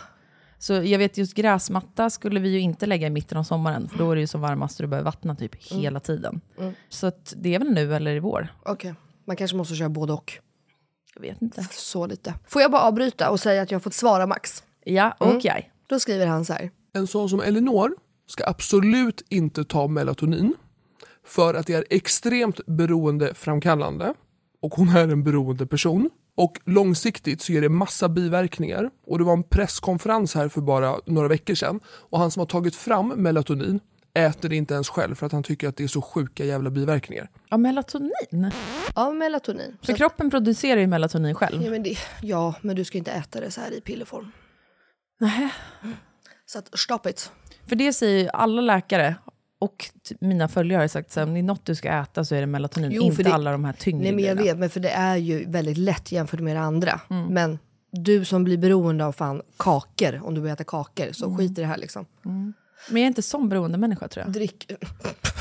Speaker 2: Så jag vet just gräsmatta skulle vi ju inte lägga i mitten av sommaren, för då är det ju som varmast och du behöver vattna typ hela tiden. Så att det är väl nu eller i vår?
Speaker 1: Okej. Man kanske måste köra både och.
Speaker 2: Jag vet inte.
Speaker 1: Så lite. Får jag bara avbryta och säga att jag har fått svara Max?
Speaker 2: Ja, okej.
Speaker 1: Då skriver han så här.
Speaker 4: En sån som Elinor ska absolut inte ta melatonin för att det är extremt beroendeframkallande och hon är en beroendeperson. Och långsiktigt så ger det massa biverkningar. Och det var en presskonferens här för bara några veckor sedan och han som har tagit fram melatonin äter det inte ens själv för att han tycker att det är så sjuka jävla biverkningar.
Speaker 2: Ja, melatonin.
Speaker 1: Ja, melatonin.
Speaker 2: För kroppen producerar ju melatonin själv.
Speaker 1: Ja men, det, ja, men du ska inte äta det så här i pillerform.
Speaker 2: Nähä.
Speaker 1: Så att, stop it.
Speaker 2: För det säger ju alla läkare och t- mina följare har sagt så här, om det är något du ska äta så är det melatonin,
Speaker 1: Jo,
Speaker 2: inte
Speaker 1: för det-
Speaker 2: alla de här tyngre
Speaker 1: Nej, men jag
Speaker 2: grejerna.
Speaker 1: vet, men för det är ju väldigt lätt jämfört med det andra. Men du som blir beroende av fan kakor, om du börjar äta kakor, så skit i det här liksom.
Speaker 2: Men jag är inte sån beroende människa tror jag.
Speaker 1: Drick.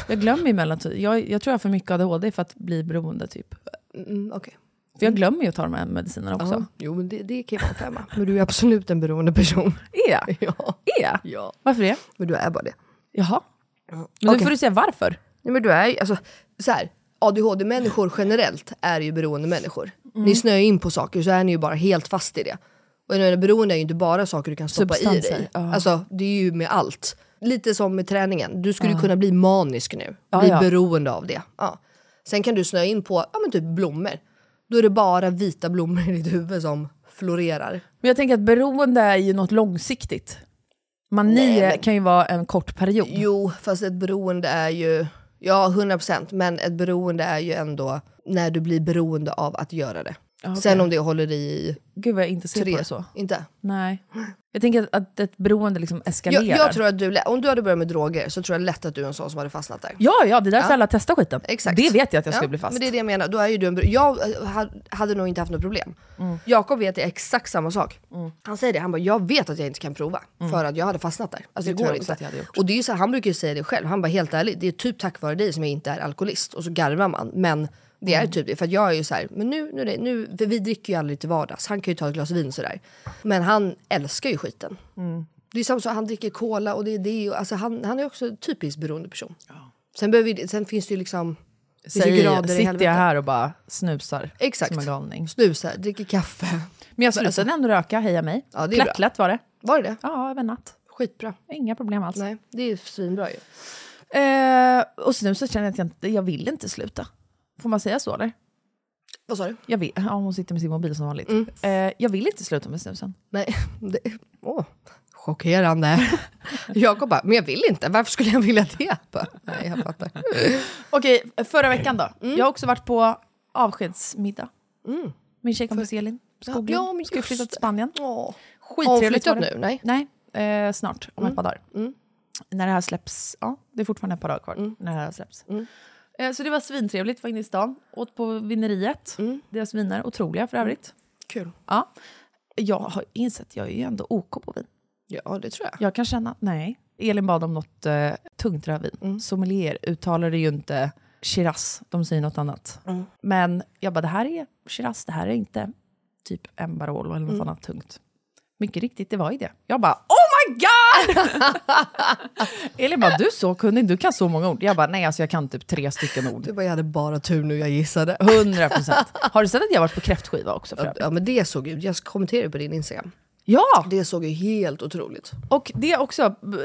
Speaker 2: Jag glömmer ju melatonin. Jag, jag tror jag har för mycket ADHD för att bli beroende typ.
Speaker 1: Mm, okej.
Speaker 2: För jag glömmer ju att ta de här medicinerna också.
Speaker 1: Ja. Jo, men det, det kan ju vara en femma. Men du är absolut en beroende person.
Speaker 2: Är jag?
Speaker 1: ja.
Speaker 2: Är jag?
Speaker 1: ja.
Speaker 2: Varför det?
Speaker 1: Men du är bara det.
Speaker 2: Jaha. Men
Speaker 1: Okej.
Speaker 2: då får du säga varför.
Speaker 1: Nej, men du är ju, alltså, så här, ADHD-människor generellt är ju beroende människor.
Speaker 2: Mm.
Speaker 1: Ni snöar in på saker så är ni ju bara helt fast i det. Och jag menar, beroende är ju inte bara saker du kan stoppa i
Speaker 2: Substanser,
Speaker 1: dig.
Speaker 2: ja.
Speaker 1: Alltså, det är ju med allt. Lite som med träningen, du skulle ju kunna bli manisk nu.
Speaker 2: Ja,
Speaker 1: bli
Speaker 2: ja.
Speaker 1: beroende av det. Ja. Sen kan du snöa in på ja, men typ blommor. Då är det bara vita blommor i ditt huvud som florerar.
Speaker 2: Men jag tänker att beroende är ju något långsiktigt. Mani
Speaker 1: Nej, men-
Speaker 2: kan ju vara en kort period.
Speaker 1: Jo, fast ett beroende är ju... Ja, 100%. Men ett beroende är ju ändå när du blir beroende av att göra det.
Speaker 2: okej.
Speaker 1: Sen om det håller i
Speaker 2: Gud vad jag inte ser på
Speaker 1: tre...
Speaker 2: det så.
Speaker 1: Inte?
Speaker 2: Nej. Jag tänker att, att ett beroende liksom eskalerar.
Speaker 1: Jag, jag tror att du, lä- om du hade börjat med droger så tror jag lätt att du är en sån som hade fastnat där.
Speaker 2: Ja, ja, det är därför alla testar skiten.
Speaker 1: Exakt.
Speaker 2: Det vet jag att jag
Speaker 1: Ja,
Speaker 2: ska bli fast.
Speaker 1: Men det är det jag menar. Då är ju du en, br- jag eh, ha- hade nog inte haft något problem.
Speaker 2: Mm.
Speaker 1: Jakob vet det är exakt samma sak. Han säger det, han bara jag vet att jag inte kan prova för att jag hade fastnat där. Alltså, det,
Speaker 2: Mm. tror
Speaker 1: går
Speaker 2: jag
Speaker 1: inte.
Speaker 2: också att jag hade gjort.
Speaker 1: Och det är ju så här, han brukar ju säga det själv, han bara helt ärligt, det är typ tack vare dig som jag inte är alkoholist. Och så garvar man. Men Det
Speaker 2: Mm.
Speaker 1: är typ det, för att jag är ju så här, men nu, nu, är det- nu, för vi dricker ju aldrig till vardags, han kan ju ta ett glas vin sådär. Men han älskar ju skiten. Det är samma sak, han dricker cola och det är det, och, alltså han, han är också en typisk beroende person. Sen, behöver vi, sen finns det ju liksom, det finns ju
Speaker 2: Säger,
Speaker 1: grader i
Speaker 2: sitter
Speaker 1: helvete.
Speaker 2: jag här och bara snusar
Speaker 1: Exakt.
Speaker 2: som en galning.
Speaker 1: Snusar, dricker kaffe.
Speaker 2: Men jag slutade ändå röka, heja mig.
Speaker 1: Ja, det är bra.
Speaker 2: Plättlätt var det.
Speaker 1: Var det det?
Speaker 2: Ja, över en natt.
Speaker 1: Skitbra.
Speaker 2: Inga problem alls.
Speaker 1: Nej, det är ju svinbra ju.
Speaker 2: Eh, och sen så känner jag att jag, inte, jag vill inte sluta. Får man säga så eller?
Speaker 1: Vad sa du?
Speaker 2: Jag vill, ja, hon sitter med sin mobil som vanligt.
Speaker 1: Mm.
Speaker 2: Eh, jag vill inte sluta med snusen.
Speaker 1: Nej, det, åh, chockerande. Jakob bara, men jag vill inte. Varför skulle jag vilja det? Jag Bara, Nej, jag fattar.
Speaker 2: Okej, förra veckan då.
Speaker 1: Mm.
Speaker 2: Jag har också varit på avskedsmiddag. Min tjejkompis Elin Skoglund
Speaker 1: ja, men
Speaker 2: ska ju
Speaker 1: just
Speaker 2: flytta till
Speaker 1: det.
Speaker 2: Spanien.
Speaker 1: Åh. Har hon
Speaker 2: Skittrevligt
Speaker 1: flyttat
Speaker 2: var det.
Speaker 1: nu? Mm. Nej.
Speaker 2: Nej, eh, snart. Om ett par dagar. När det här släpps. Ja, det är fortfarande ett par dagar kvar.
Speaker 1: Mm.
Speaker 2: När det här släpps. Eh, så det var svintrevligt. Var inne i stan. Åt på vineriet.
Speaker 1: Mm.
Speaker 2: Deras viner, otroliga för övrigt.
Speaker 1: Kul.
Speaker 2: Ja.
Speaker 1: Mm.
Speaker 2: Jag har insett, jag är ju ändå OK på vin.
Speaker 1: Ja, det tror jag.
Speaker 2: Jag kan känna, nej. Elin bad om något eh, tungt rödvin. Sommelier uttalar det ju inte Shiraz, de säger något annat. Men jag bara, det här är Shiraz, det här är inte typ en Barolo eller något annat tungt. Mycket riktigt, det var ju det. Jag bara, oh my god! Elin bara, du är så kunnig, du kan så många ord. Jag bara, nej alltså jag kan typ tre stycken ord.
Speaker 1: Du bara, jag hade bara tur nu, jag gissade.
Speaker 2: 100 procent. Har du sett att jag har varit på kräftskiva också? För övrigt?
Speaker 1: Ja, men det såg ju, jag kommenterade på din Instagram.
Speaker 2: ja!
Speaker 1: Det såg ju helt otroligt.
Speaker 2: Och det också, b-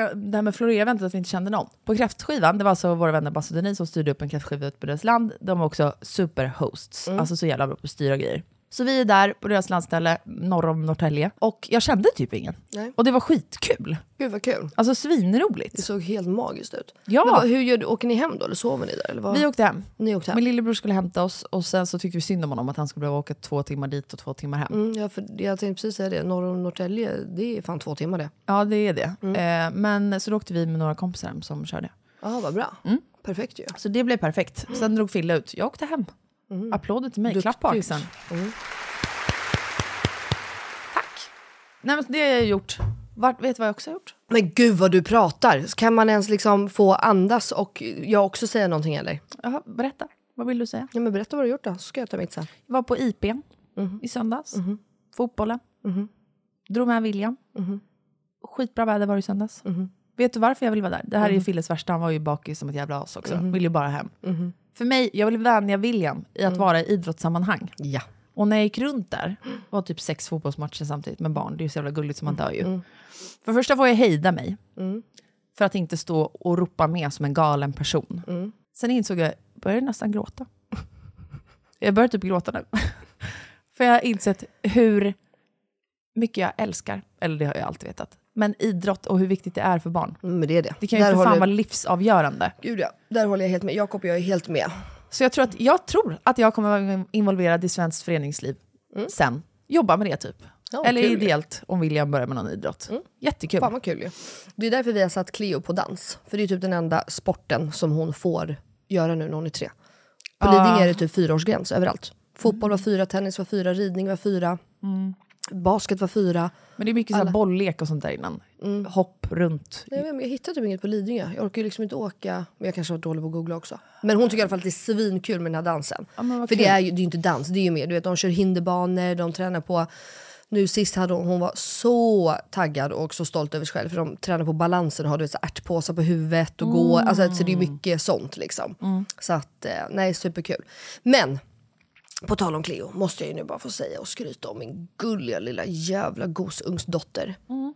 Speaker 2: äh, det här med Florera-eventet, att vi inte kände någon. På kräftskivan, det var alltså våra vänner Basse och Denise som styrde upp en kräftskiva ute på deras land. De var också superhosts,
Speaker 1: Mm.
Speaker 2: alltså så jävla bra på att styra grejer. Så vi är där på deras landställe norr om Norrtälje och jag kände typ ingen.
Speaker 1: Nej.
Speaker 2: Och det var skitkul.
Speaker 1: Gud vad kul.
Speaker 2: Alltså
Speaker 1: Det
Speaker 2: svinroligt.
Speaker 1: såg helt magiskt ut.
Speaker 2: Ja.
Speaker 1: Men vad, hur gör du, åker ni hem då eller sover ni där? Eller vad?
Speaker 2: Vi åkte hem.
Speaker 1: ni åkte hem?
Speaker 2: Min lillebror skulle hämta oss och sen så tyckte vi synd om honom att han skulle behöva åka två timmar dit och två timmar hem.
Speaker 1: Mm, ja, för jag tänkte precis säga det, norr om Norrtälje, det är fan två timmar det.
Speaker 2: Ja, det är det.
Speaker 1: Mm.
Speaker 2: Eh, men så då åkte vi med några kompisar hem som körde.
Speaker 1: Ja, vad bra. Perfekt ju.
Speaker 2: Så det blev perfekt. Sen drog Fille ut. Jag åkte hem. Applåder till mig. liksom. Klapp på
Speaker 1: Duktigt.
Speaker 2: axeln. Tack. Nej, men det har jag gjort. Vart, vet du vad jag också har gjort?
Speaker 1: Men gud vad du pratar! Kan man ens liksom få andas och jag också säga någonting eller?
Speaker 2: Jaha, berätta. Vad vill du säga?
Speaker 1: Ja, men berätta vad du gjort då, så ska jag ta mitt sen.
Speaker 2: Jag var på IPn i söndags. Fotbollen. Drog med William. Skitbra väder var det i söndags. Vet du varför jag vill vara där? Det här är ju Filles värsta. Han var ju bakis som ett jävla as också. Vill ju bara hem. För mig, jag vill vänja William i att vara i idrottssammanhang.
Speaker 1: Ja.
Speaker 2: Och när jag gick runt där, var typ sex fotbollsmatcher samtidigt med barn, det är ju så jävla gulligt som man dör ju. För det första får jag hejda mig, för att inte stå och ropa med som en galen person. Sen insåg jag, jag började nästan gråta. Jag börjar typ gråta nu. för jag har insett hur mycket jag älskar, eller det har jag alltid vetat, men idrott och hur viktigt det är för barn.
Speaker 1: Mm, Men det är det.
Speaker 2: Det kan ju för fan
Speaker 1: håller...
Speaker 2: vara livsavgörande.
Speaker 1: Gud ja, där håller jag helt med. Jakob och jag är helt med.
Speaker 2: Så jag tror att jag, tror att jag kommer vara involverad i svenskt föreningsliv sen. Jobba med det typ.
Speaker 1: Ja,
Speaker 2: Eller
Speaker 1: kul. Mm.
Speaker 2: ideellt om William börjar med någon idrott. Jättekul.
Speaker 1: Fan vad kul ju. Det är därför vi har satt Cleo på dans. För det är typ den enda sporten som hon får göra nu när hon är tre. På Lidingö är det typ fyraårsgräns överallt. Fotboll var fyra, tennis var fyra, ridning var fyra. Basket var fyra.
Speaker 2: Men det är mycket så här bolllek och sånt där innan.
Speaker 1: Mm.
Speaker 2: Hopp runt.
Speaker 1: Nej, men jag hittar typ inget på Lidingö. Jag orkar ju liksom inte åka. Men jag kanske har varit dålig på att googla också. Men hon tycker i alla fall att det är svinkul med den här dansen.
Speaker 2: men vad
Speaker 1: För det
Speaker 2: kul.
Speaker 1: är ju det är ju inte dans, det är ju mer. Du vet, de kör hinderbanor, de tränar på... Nu sist hade hon, hon var så taggad och så stolt över sig själv. För de tränar på balansen och har du vet, så här ärtpåsar på huvudet och går. Alltså, så det är
Speaker 2: Mm.
Speaker 1: ju mycket sånt liksom. Så att, eh, nej, superkul. Men på tal om Cleo måste jag ju nu bara få säga och skryta om min gulliga lilla jävla gosungsdotter.
Speaker 2: Mm.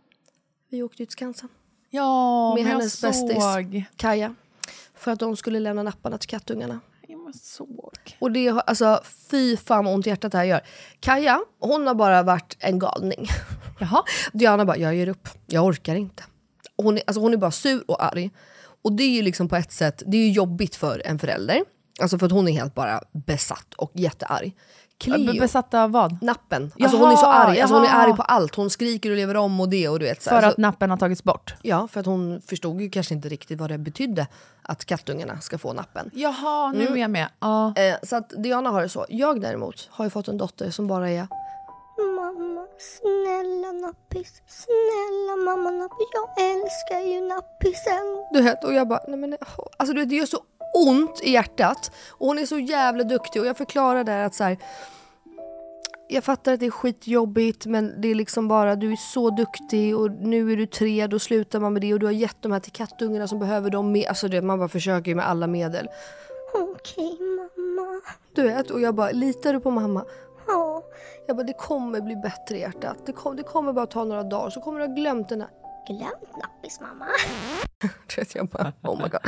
Speaker 1: Vi åkte ju till Skansen
Speaker 2: Ja,
Speaker 1: med hennes bästis
Speaker 2: såg.
Speaker 1: Kaja. För att de skulle lämna napparna till kattungarna.
Speaker 2: Jag såg.
Speaker 1: Och det har, alltså fy fan vad ont i hjärtat det här gör. Kaja, hon har bara varit en galning.
Speaker 2: Jaha.
Speaker 1: Diana bara, jag ger upp. Jag orkar inte. Hon är, alltså hon är bara sur och arg. Och det är ju liksom på ett sätt, det är ju jobbigt för en förälder. Alltså för att hon är helt bara besatt och jättearg.
Speaker 2: B-
Speaker 1: Cleo,
Speaker 2: Besatt av vad?
Speaker 1: nappen. Alltså hon är så
Speaker 2: Jaha,
Speaker 1: arg. Alltså hon är
Speaker 2: jaha.
Speaker 1: arg på allt. Hon skriker och lever om och det och du vet. Så här.
Speaker 2: För
Speaker 1: Så-
Speaker 2: att nappen har tagits bort.
Speaker 1: Ja, för att hon förstod ju kanske inte riktigt vad det betydde att kattungarna ska få nappen.
Speaker 2: Jaha, nu är jag med. Mm. Ja.
Speaker 1: Eh, så att Diana har det så. Jag däremot har ju fått en dotter som bara är...
Speaker 3: Mamma, snälla nappis. Snälla mamma nappis. Jag älskar ju nappisen.
Speaker 1: Du vet, och jag bara, nej men åh. alltså du vet, det gör så ont i hjärtat. Och hon är så jävla duktig och jag förklarar där att så här, jag fattar att det är skitjobbigt men det är liksom bara du är så duktig och nu är du tre, då slutar man med det och du har gett de här till kattungarna som behöver dem med. Alltså det, man bara försöker ju med alla medel.
Speaker 3: Okej mamma.
Speaker 1: Du vet, och jag bara litar du på mamma?
Speaker 3: Ja.
Speaker 1: Jag bara det kommer bli bättre hjärtat. Det, kom, det kommer bara ta några dagar så kommer du ha glömt den här
Speaker 3: Glömt nappis mamma.
Speaker 1: Du vet, jag bara, oh my god.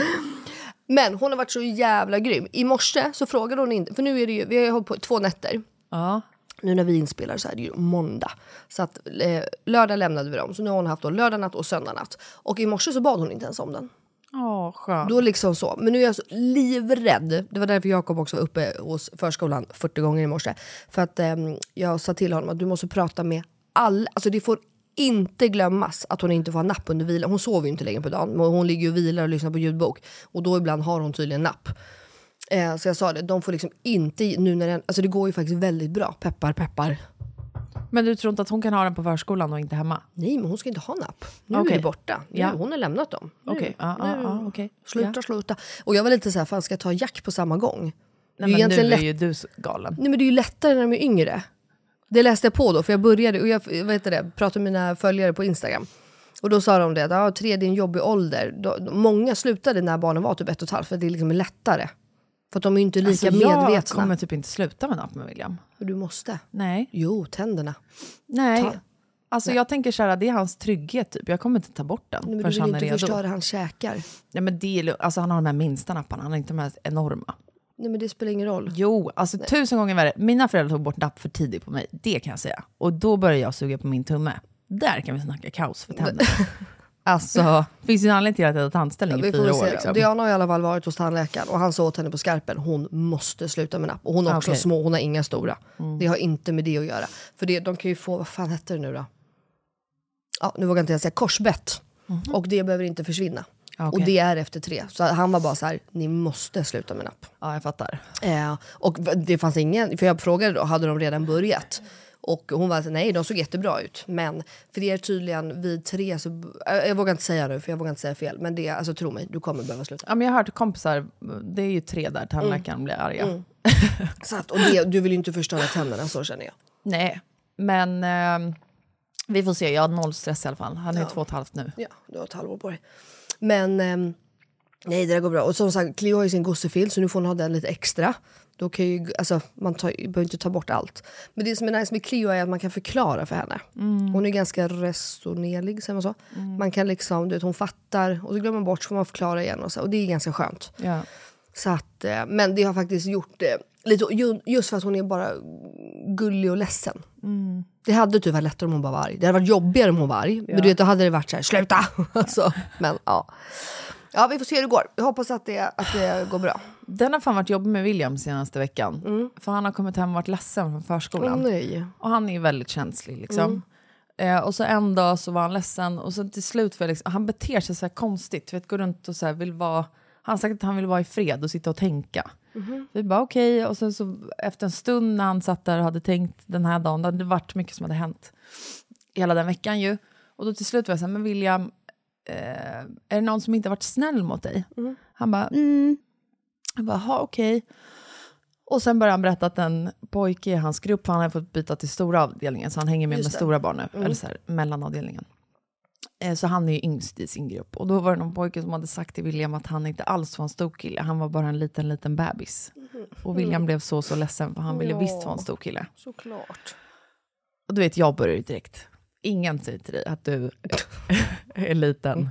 Speaker 1: Men hon har varit så jävla grym. I morse så frågade hon inte, för nu är det ju, vi har ju hållit på i två nätter.
Speaker 2: Ja.
Speaker 1: Nu när vi inspelar så är det ju måndag. Så att eh, lördag lämnade vi dem, så nu har hon haft då lördag natt och söndag natt. Och i morse så bad hon inte ens om den.
Speaker 2: Åh, skönt.
Speaker 1: Då liksom så. Men nu är jag så livrädd. Det var därför Jakob också var uppe hos förskolan 40 gånger i morse. För att ehm, jag sa till honom att du måste prata med alla. Alltså det får inte glömmas att hon inte får ha napp under vilan. Hon sover ju inte längre på dagen. men Hon ligger ju och vilar och lyssnar på ljudbok. Och då ibland har hon tydligen napp. Eh, så jag sa det, de får liksom inte, nu när den, alltså det går ju faktiskt väldigt bra. Peppar, peppar.
Speaker 2: Men du tror inte att hon kan ha den på förskolan och inte hemma?
Speaker 1: Nej men hon ska inte ha napp. Nu är
Speaker 2: Okej.
Speaker 1: det borta. Nu,
Speaker 2: Ja.
Speaker 1: Hon har lämnat dem. Nu,
Speaker 2: Okej. Ja, ja, ja, okej.
Speaker 1: Sluta,
Speaker 2: Ja.
Speaker 1: sluta. Och jag var lite så här, fan ska jag ta Jack på samma gång?
Speaker 2: Nej,
Speaker 1: det är
Speaker 2: men nu
Speaker 1: egentligen
Speaker 2: är
Speaker 1: lätt,
Speaker 2: ju du så galen.
Speaker 1: nej, men det är ju lättare när de är yngre. Det läste jag på då, för jag började och jag vad heter det, pratade med mina följare på Instagram. Och då sa de det, att ah, tre det är en jobbig ålder. Då, många slutade när barnen var typ ett och ett halvt, för att det är liksom lättare. För att de är ju inte lika
Speaker 2: Alltså, jag
Speaker 1: medvetna.
Speaker 2: kommer typ inte sluta med napp med William.
Speaker 1: Du måste.
Speaker 2: Nej.
Speaker 1: Jo, tänderna.
Speaker 2: Nej.
Speaker 1: Ta-
Speaker 2: Alltså jag tänker så här, det är hans trygghet typ. Jag kommer inte ta bort den
Speaker 1: Men du vill
Speaker 2: förrän
Speaker 1: ju
Speaker 2: han är
Speaker 1: inte
Speaker 2: redo.
Speaker 1: förstöra hans käkar.
Speaker 2: Nej men det är, lu- alltså han har de här minsta napparna, han har inte de här enorma.
Speaker 1: Nej men det spelar ingen roll.
Speaker 2: Jo, alltså tusen gånger värre. Mina föräldrar tog bort napp för tidigt på mig, det kan jag säga. Och då började jag suga på min tumme. Där kan vi snacka kaos för tänderna. alltså, finns ju en anledning till att jag hade tandställning
Speaker 1: Ja,
Speaker 2: i
Speaker 1: vi får
Speaker 2: fyra
Speaker 1: väl
Speaker 2: år.
Speaker 1: se.
Speaker 2: Liksom.
Speaker 1: Diana har i alla fall varit hos tandläkaren och han sa åt henne på skarpen, hon måste sluta med napp. Och hon har också
Speaker 2: Okej. Mm.
Speaker 1: små, hon har inga stora. Det har inte med det att göra. För det, de kan ju få, vad fan hette det nu då? Ja, nu vågar inte jag säga, korsbett. Och det behöver inte försvinna.
Speaker 2: Ja, Mhm. okej.
Speaker 1: Och det är efter tre. Så han var bara så här, ni måste sluta med napp.
Speaker 2: Ja, jag fattar.
Speaker 1: Eh, och v- det fanns ingen, för jag frågade då, hade de redan börjat? Och hon var så, nej de såg jättebra ut. Men för det är tydligen vid tre så, eh, jag vågar inte säga nu för jag vågar inte säga fel. Men det, alltså tro mig, du kommer behöva sluta.
Speaker 2: Ja, men jag har hört kompisar, det är ju tre där tandläkaren
Speaker 1: Mm.
Speaker 2: blir arga.
Speaker 1: Så att, och det, du vill ju inte förstöra tänderna, så känner jag.
Speaker 2: Nej, men ehm, vi får se. Jag har noll stress i alla fall. Han är ju två och ett halvt nu.
Speaker 1: Ja, du har ett halvår på dig. Men ehm, nej, det där går bra. Och som sagt, Cleo har ju sin gossefil så nu får hon ha den lite extra. Då kan ju, alltså, man tar, behöver inte ta bort allt. Men det som är nice med Cleo är att man kan förklara för henne. Hon är ganska resonerlig, säger man så. Man kan liksom, du vet, hon fattar och så glömmer man bort så får man förklara igen. Och, så, och det är ganska skönt.
Speaker 2: Ja.
Speaker 1: Så att, eh, men det har faktiskt gjort eh, lite, ju- just för att hon är bara gullig och ledsen.
Speaker 2: Mm.
Speaker 1: Det hade typ varit lättare om hon bara var arg. Det hade varit jobbigare om hon var arg. Men du vet, då hade det varit så här, sluta! alltså, men ja. Ja, vi får se hur det går. Jag hoppas att det, att det går bra.
Speaker 2: Den har fan varit jobbig med William senaste veckan.
Speaker 1: Mm.
Speaker 2: För han har kommit hem och varit ledsen från förskolan.
Speaker 1: nej.
Speaker 2: Och han är ju väldigt känslig liksom. Eh, och så en dag så var han ledsen och sen till slut var jag liksom, han beter sig så här konstigt. Du Vet, går runt och så här vill vara, han har sagt att han vill vara i fred och sitta och tänka. Vi bara okej och sen så efter en stund när han satt där och hade tänkt den här dagen, det hade varit mycket som hade hänt hela den veckan ju. Och då till slut var jag så här, men William, eh, är det någon som inte har varit snäll mot dig? Han bara, "Mm." jag bara, "Jaha, okej. Och sen började han berätta att en pojke i hans grupp, för han har fått byta till stora avdelningen, så han hänger med med stora barn nu, eller så här, mellanavdelningen. Eh, Så han är ju yngst i sin grupp. Och då var det någon pojke som hade sagt till William att han inte alls var en stor kille, han var bara en liten, liten bebis. Och
Speaker 1: Mm.
Speaker 2: William blev så, så ledsen, för han ville visst vara en stor kille.
Speaker 1: Såklart.
Speaker 2: Och du vet, jag börjar ju direkt. Ingen säger till dig att du är liten.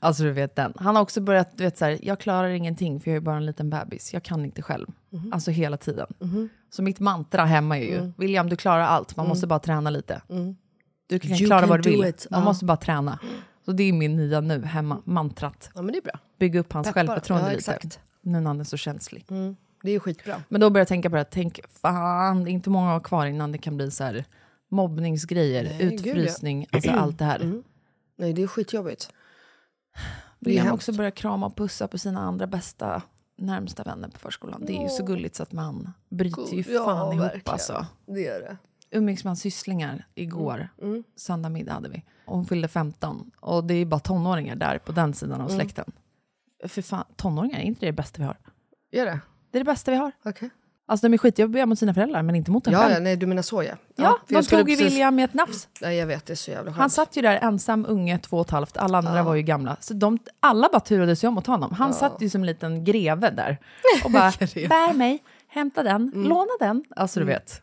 Speaker 2: Alltså du vet den. Han har också börjat, du vet så här, jag klarar ingenting för jag är bara en liten bebis. Jag kan inte själv.
Speaker 1: Mm.
Speaker 2: Alltså hela tiden.
Speaker 1: Mm-hmm,
Speaker 2: Så mitt mantra hemma är ju, William du klarar allt, man måste bara träna lite. Du kan
Speaker 1: Mm. mm-hmm. You
Speaker 2: klara
Speaker 1: can
Speaker 2: vad
Speaker 1: do
Speaker 2: du vill,
Speaker 1: it.
Speaker 2: man
Speaker 1: Ja.
Speaker 2: måste bara träna. Så det är min nya nu hemma, mantrat.
Speaker 1: Ja, men det är bra.
Speaker 2: Bygga upp hans
Speaker 1: Peppa.
Speaker 2: självförtroende
Speaker 1: Ja,
Speaker 2: lite.
Speaker 1: exakt.
Speaker 2: Nu när han är så känslig.
Speaker 1: Mm. Det är skitbra.
Speaker 2: Men då började jag tänka på det, här, tänk fan, det är inte många år kvar innan det kan bli så här mobbningsgrejer,
Speaker 1: gud, ja. Mm.
Speaker 2: utfrysning, alltså allt det här.
Speaker 1: Nej, det är skitjobbigt.
Speaker 2: Vill han
Speaker 1: hemskt.
Speaker 2: också börja krama och pussa på sina andra bästa närmsta vänner på förskolan. Det är ju så gulligt så att man bryter ju
Speaker 1: Gud, ja,
Speaker 2: fan ihop
Speaker 1: verkligen.
Speaker 2: alltså.
Speaker 1: Det är det.
Speaker 2: Umgicks med hans sysslingar igår,
Speaker 1: Mm,
Speaker 2: söndag
Speaker 1: Mm.
Speaker 2: middag hade vi. Och hon fyllde 15 och det är ju bara tonåringar där på den sidan av släkten. För fan, tonåringar, är inte det det bästa vi har?
Speaker 1: Gör det?
Speaker 2: Det är det bästa vi har.
Speaker 1: Okej.
Speaker 2: Alltså de är skitjobbiga mot sina föräldrar, men inte mot en
Speaker 1: Ja,
Speaker 2: själv.
Speaker 1: ja, nej du menar så ja.
Speaker 2: Ja,
Speaker 1: för
Speaker 2: de
Speaker 1: jag skulle
Speaker 2: tog ju
Speaker 1: precis-
Speaker 2: William med ett nafs.
Speaker 1: Nej jag vet, det är så jävla skönt.
Speaker 2: Han satt ju där ensam, unge, två och ett halvt. Alla andra var ju gamla. Så de, alla bara turades ju om åt honom. Han satt ju som en liten greve där och bara bär mig, hämta den, låna den. Alltså du vet.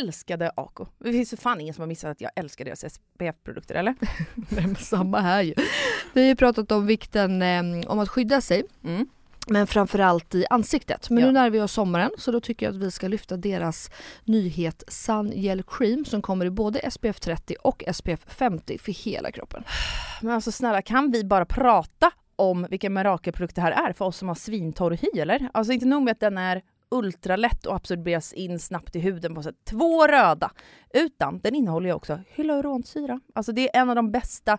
Speaker 2: älskade Ako. Det finns ju fan ingen som har missat att jag älskar deras SPF-produkter eller?
Speaker 1: Nej, men samma här ju. Vi har ju pratat om vikten eh, om att skydda sig.
Speaker 2: Mm.
Speaker 1: Men framförallt i ansiktet. Men
Speaker 2: Ja.
Speaker 1: nu när vi har sommaren så då tycker jag att vi ska lyfta deras nyhet Sun Gel Cream som kommer i både SPF 30 och SPF 50 för hela kroppen.
Speaker 2: Men alltså snälla kan vi bara prata om vilken mirakelprodukt det här är för oss som har svintorr hy eller? Alltså inte nog med att den är ultralätt och absorberas in snabbt i huden på sätt två röda. Utan den innehåller ju också hyaluronsyra. Alltså det är en av de bästa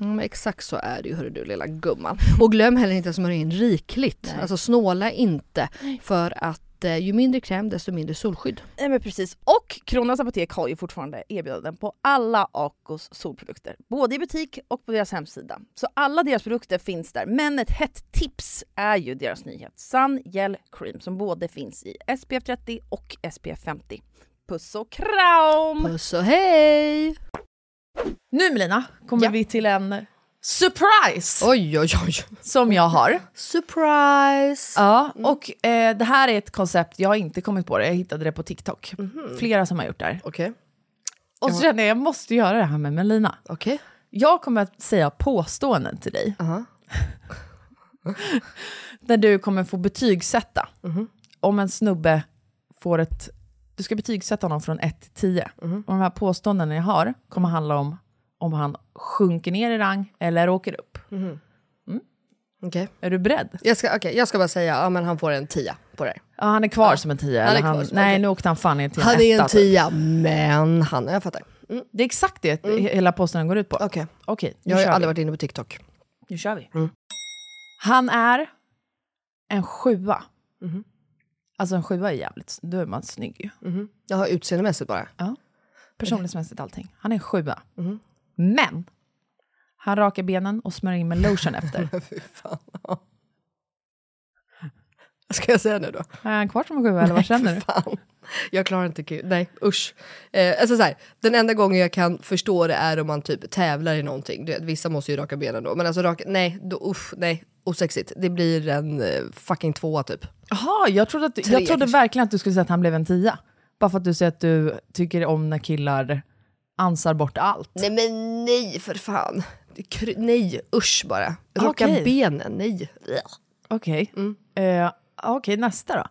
Speaker 1: Mm, men exakt så är det ju hörru du lilla gumman. Och glöm heller inte att smörja in rikligt.
Speaker 2: Nej.
Speaker 1: Alltså snåla inte för att eh, ju mindre kräm desto mindre solskydd.
Speaker 2: Nej men precis. Och Kronans Apotek har ju fortfarande erbjudanden på alla Acos solprodukter. Både i butik och på deras hemsida. Så alla deras produkter finns där. Men ett hett tips är ju deras nyhet Sun Gel Cream som både finns i SPF 30 och SPF 50. Puss och kram!
Speaker 1: Puss och hej!
Speaker 2: Nu Melina kommer
Speaker 1: Ja.
Speaker 2: vi till en surprise
Speaker 1: Oj oj oj!
Speaker 2: som jag har.
Speaker 1: Surprise!
Speaker 2: Ja, och eh, det här är ett koncept jag har inte kommit på det, jag hittade det på TikTok. Flera som har gjort det här.
Speaker 1: Okej,
Speaker 2: Och så kände jag, jag måste göra det här med Melina.
Speaker 1: okej.
Speaker 2: Jag kommer att säga påståenden till dig.
Speaker 1: Aha.
Speaker 2: Där du kommer få betygsätta. Om en snubbe får ett... Du ska betygsätta honom från 1 till 10. Och de här påståendena jag har kommer handla om om han sjunker ner i rang eller åker upp.
Speaker 1: okej.
Speaker 2: Är du beredd?
Speaker 1: Jag, ska, okej, jag ska bara säga, ja men han får en tia på det här.
Speaker 2: Ja, han är kvar som en 10.
Speaker 1: är
Speaker 2: eller
Speaker 1: kvar som-
Speaker 2: nej,
Speaker 1: okej.
Speaker 2: nu åkte han fan ner till en
Speaker 1: Han är
Speaker 2: etta,
Speaker 1: en
Speaker 2: typ.
Speaker 1: tia, men han, jag fattar. Mm,
Speaker 2: Det är exakt det hela påståendet går ut på.
Speaker 1: Okej,
Speaker 2: Okej, nu,
Speaker 1: jag har ju
Speaker 2: kör vi.
Speaker 1: aldrig varit inne på TikTok.
Speaker 2: nu kör vi.
Speaker 1: Mm.
Speaker 2: Han är en sjua.
Speaker 1: Mhm.
Speaker 2: Alltså en sjua är jävligt, då är man snygg ju.
Speaker 1: Mhm. Jag har utseendemässigt bara.
Speaker 2: Personlighetsmässigt allting. Han är en sjua.
Speaker 1: Mhm.
Speaker 2: Men! Han rakar benen och smörjer in med lotion efter.
Speaker 1: Fy fan. Ska jag säga nu då?
Speaker 2: är han kvar som en sjua eller vad känner du?
Speaker 1: Fan. Jag klarar inte kul. Nej, usch. Eh, alltså så här, den enda gången jag kan förstå det är om man typ tävlar i någonting. Du vet, vissa måste ju raka benen då. Men alltså raka, nej, då, usch, nej, osexigt. Det blir en eh, fucking tvåa typ.
Speaker 2: Jaha, jag trodde, att,
Speaker 1: Tre
Speaker 2: jag trodde
Speaker 1: kanske.
Speaker 2: verkligen att du skulle säga att han blev en tia. Bara för att du säger att du tycker om när killar ansar bort allt.
Speaker 1: Nej men nej för fan. Kry- nej, usch bara. Raka
Speaker 2: Okej.
Speaker 1: benen, nej.
Speaker 2: Okej. Eh, Okej, nästa då.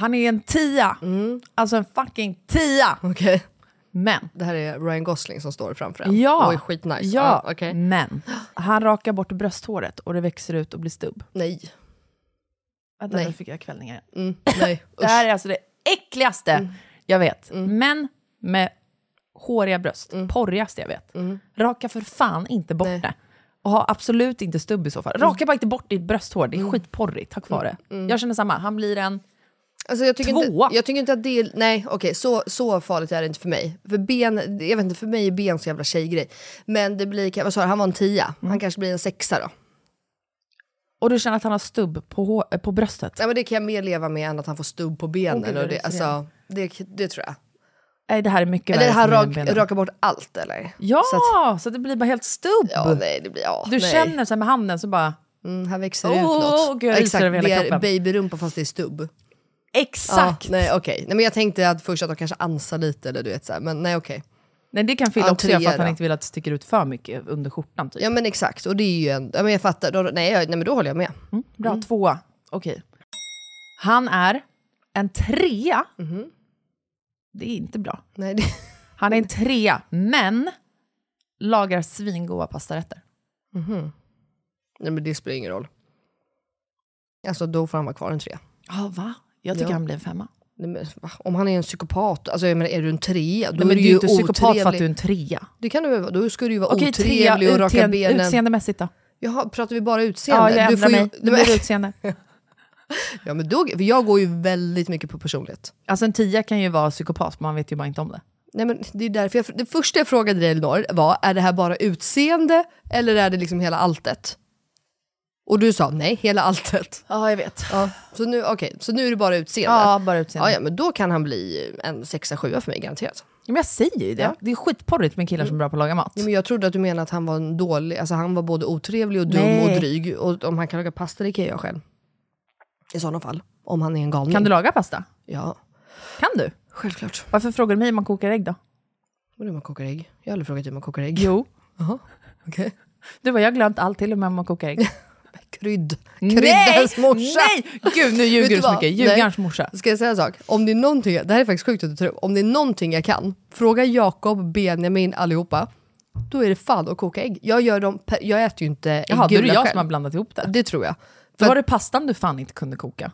Speaker 2: Han är en tia.
Speaker 1: Mm.
Speaker 2: Alltså en fucking tia.
Speaker 1: Okej.
Speaker 2: Men.
Speaker 1: Det här är Ryan Gosling som står framför en.
Speaker 2: Ja,
Speaker 1: Och är skitnice.
Speaker 2: ja
Speaker 1: Ja, okej.
Speaker 2: men han rakar bort brösthåret och det växer ut och blir stubb.
Speaker 1: Nej.
Speaker 2: Vänta,
Speaker 1: Nej.
Speaker 2: nu fick jag kvällningar.
Speaker 1: Mm, nej,
Speaker 2: Det här är alltså det äckligaste
Speaker 1: Mm.
Speaker 2: jag vet. Män med håriga bröst,
Speaker 1: Mm.
Speaker 2: porrigaste jag vet. Raka för fan inte bort det. Och ha absolut inte stubb i så fall.
Speaker 1: Mm.
Speaker 2: Raka bara inte bort ditt brösthår, det är skitporrigt. Ha kvar det. Jag känner samma, han blir en...
Speaker 1: Alltså jag tycker
Speaker 2: Tvåa.
Speaker 1: Inte, jag tycker inte att det är... Nej, okej, så, så farligt är det inte för mig. För ben, jag vet inte, för mig är ben så jävla tjejgrej. Men det blir... Vad sa du, han var en tia.
Speaker 2: Mm.
Speaker 1: Han kanske blir en sexa då.
Speaker 2: Och du känner att han har stubb på, hå- eh, på bröstet?
Speaker 1: Nej, men det kan jag mer leva med än att han får stubb på
Speaker 2: Åh, gud,
Speaker 1: benen.
Speaker 2: vad
Speaker 1: och det,
Speaker 2: det är så
Speaker 1: alltså, det, det tror jag.
Speaker 2: Nej, det här är mycket
Speaker 1: Eller
Speaker 2: värre
Speaker 1: han
Speaker 2: för
Speaker 1: rak,
Speaker 2: benen.
Speaker 1: rakar bort allt eller?
Speaker 2: Ja,
Speaker 1: Så
Speaker 2: så,
Speaker 1: att,
Speaker 2: att, det blir bara helt stubb.
Speaker 1: ja nej, det blir... Ja,
Speaker 2: du
Speaker 1: nej.
Speaker 2: känner så här med handen så bara...
Speaker 1: Mm, här växer
Speaker 2: Åh,
Speaker 1: ut något.
Speaker 2: gud, jag ryser
Speaker 1: Exakt,
Speaker 2: över hela
Speaker 1: det är
Speaker 2: kroppen.
Speaker 1: babyrumpa fast det är stubb.
Speaker 2: Exakt!
Speaker 1: Ja, nej okej, nej, men jag tänkte att först att de kanske ansar lite eller du vet så här, men nej okej.
Speaker 2: Nej, det kan Phil
Speaker 1: Ja,
Speaker 2: också göra för att
Speaker 1: trea
Speaker 2: han
Speaker 1: då.
Speaker 2: inte vill att det sticker ut för mycket under skjortan. Typ.
Speaker 1: Ja men exakt, och det är ju en, ja, men jag fattar, då, nej, jag, nej men då håller jag med.
Speaker 2: Bra, tvåa. Okej. Han är en trea. Det är inte bra.
Speaker 1: Nej, det,
Speaker 2: Han är en trea, men lagar svingoda pastarätter.
Speaker 1: nej men det spelar ingen roll. Alltså då får han vara kvar en tre.
Speaker 2: Ja, va? Jag tycker
Speaker 1: Ja.
Speaker 2: han blir en femma.
Speaker 1: Nej, men, va? Om han är en psykopat, alltså jag menar, är du en trea, då
Speaker 2: Nej, men
Speaker 1: är du
Speaker 2: du är ju
Speaker 1: ju
Speaker 2: inte psykopat för att
Speaker 1: otrevlig.
Speaker 2: du är en trea.
Speaker 1: Det kan du väl vara, då ska du ju vara
Speaker 2: Okej, trea
Speaker 1: otrevlig och raka
Speaker 2: utseende-
Speaker 1: benen.
Speaker 2: utseendemässigt då?
Speaker 1: Jaha, pratar vi bara utseende?
Speaker 2: Ja, jag
Speaker 1: Du
Speaker 2: ändrar
Speaker 1: får ju-
Speaker 2: mig. Det blir utseende.
Speaker 1: Ja men då, för jag går ju väldigt mycket på personlighet.
Speaker 2: Alltså en tia kan ju vara psykopat, man vet ju bara inte om det.
Speaker 1: Nej, men det, är därför jag, det första jag frågade dig Elinor var, är det här bara utseende eller är det liksom hela alltet? Och du sa nej, hela alltet.
Speaker 2: Ja, jag vet.
Speaker 1: Ja, så, nu, okay, så nu är det bara utseende?
Speaker 2: Ja, bara utseende.
Speaker 1: Ja, ja, men då kan han bli en sexa, sjua för mig garanterat.
Speaker 2: Ja, Men jag säger ju det. Mm. Det är skitporrigt med killar som är bra på att laga mat.
Speaker 1: Ja, men jag trodde att du menade att han var en dålig, alltså han var både otrevlig och dum
Speaker 2: Nej.
Speaker 1: och dryg. Och om han kan laga pasta, det kan jag själv. I sådana fall. Om han är en galning.
Speaker 2: Kan du laga pasta?
Speaker 1: Ja,
Speaker 2: Kan du?
Speaker 1: självklart.
Speaker 2: Varför frågar du mig om man kokar ägg då?
Speaker 1: Vadå man kokar ägg? Jag har aldrig frågat hur man kokar ägg.
Speaker 2: Jo.
Speaker 1: Okej.
Speaker 2: Du var jag har glömt allt till och med om man kokar ägg.
Speaker 1: Krydd. Kryddans morsa.
Speaker 2: Nej! Gud, nu
Speaker 1: Vet
Speaker 2: ljuger du så
Speaker 1: vad?
Speaker 2: mycket.
Speaker 1: Nej.
Speaker 2: Ljugarens morsa.
Speaker 1: Ska jag säga en sak? Om det är någonting, det här är faktiskt sjukt att du tar upp. Om det är någonting jag kan, fråga Jakob, Benjamin, allihopa. Då är det fan att koka ägg. Jag gör dem, per- jag äter ju inte
Speaker 2: Jaha, då är det
Speaker 1: äggula
Speaker 2: jag
Speaker 1: själv.
Speaker 2: som har blandat ihop det.
Speaker 1: Det tror jag.
Speaker 2: Då
Speaker 1: För
Speaker 2: var
Speaker 1: att
Speaker 2: det pastan du fan inte kunde koka.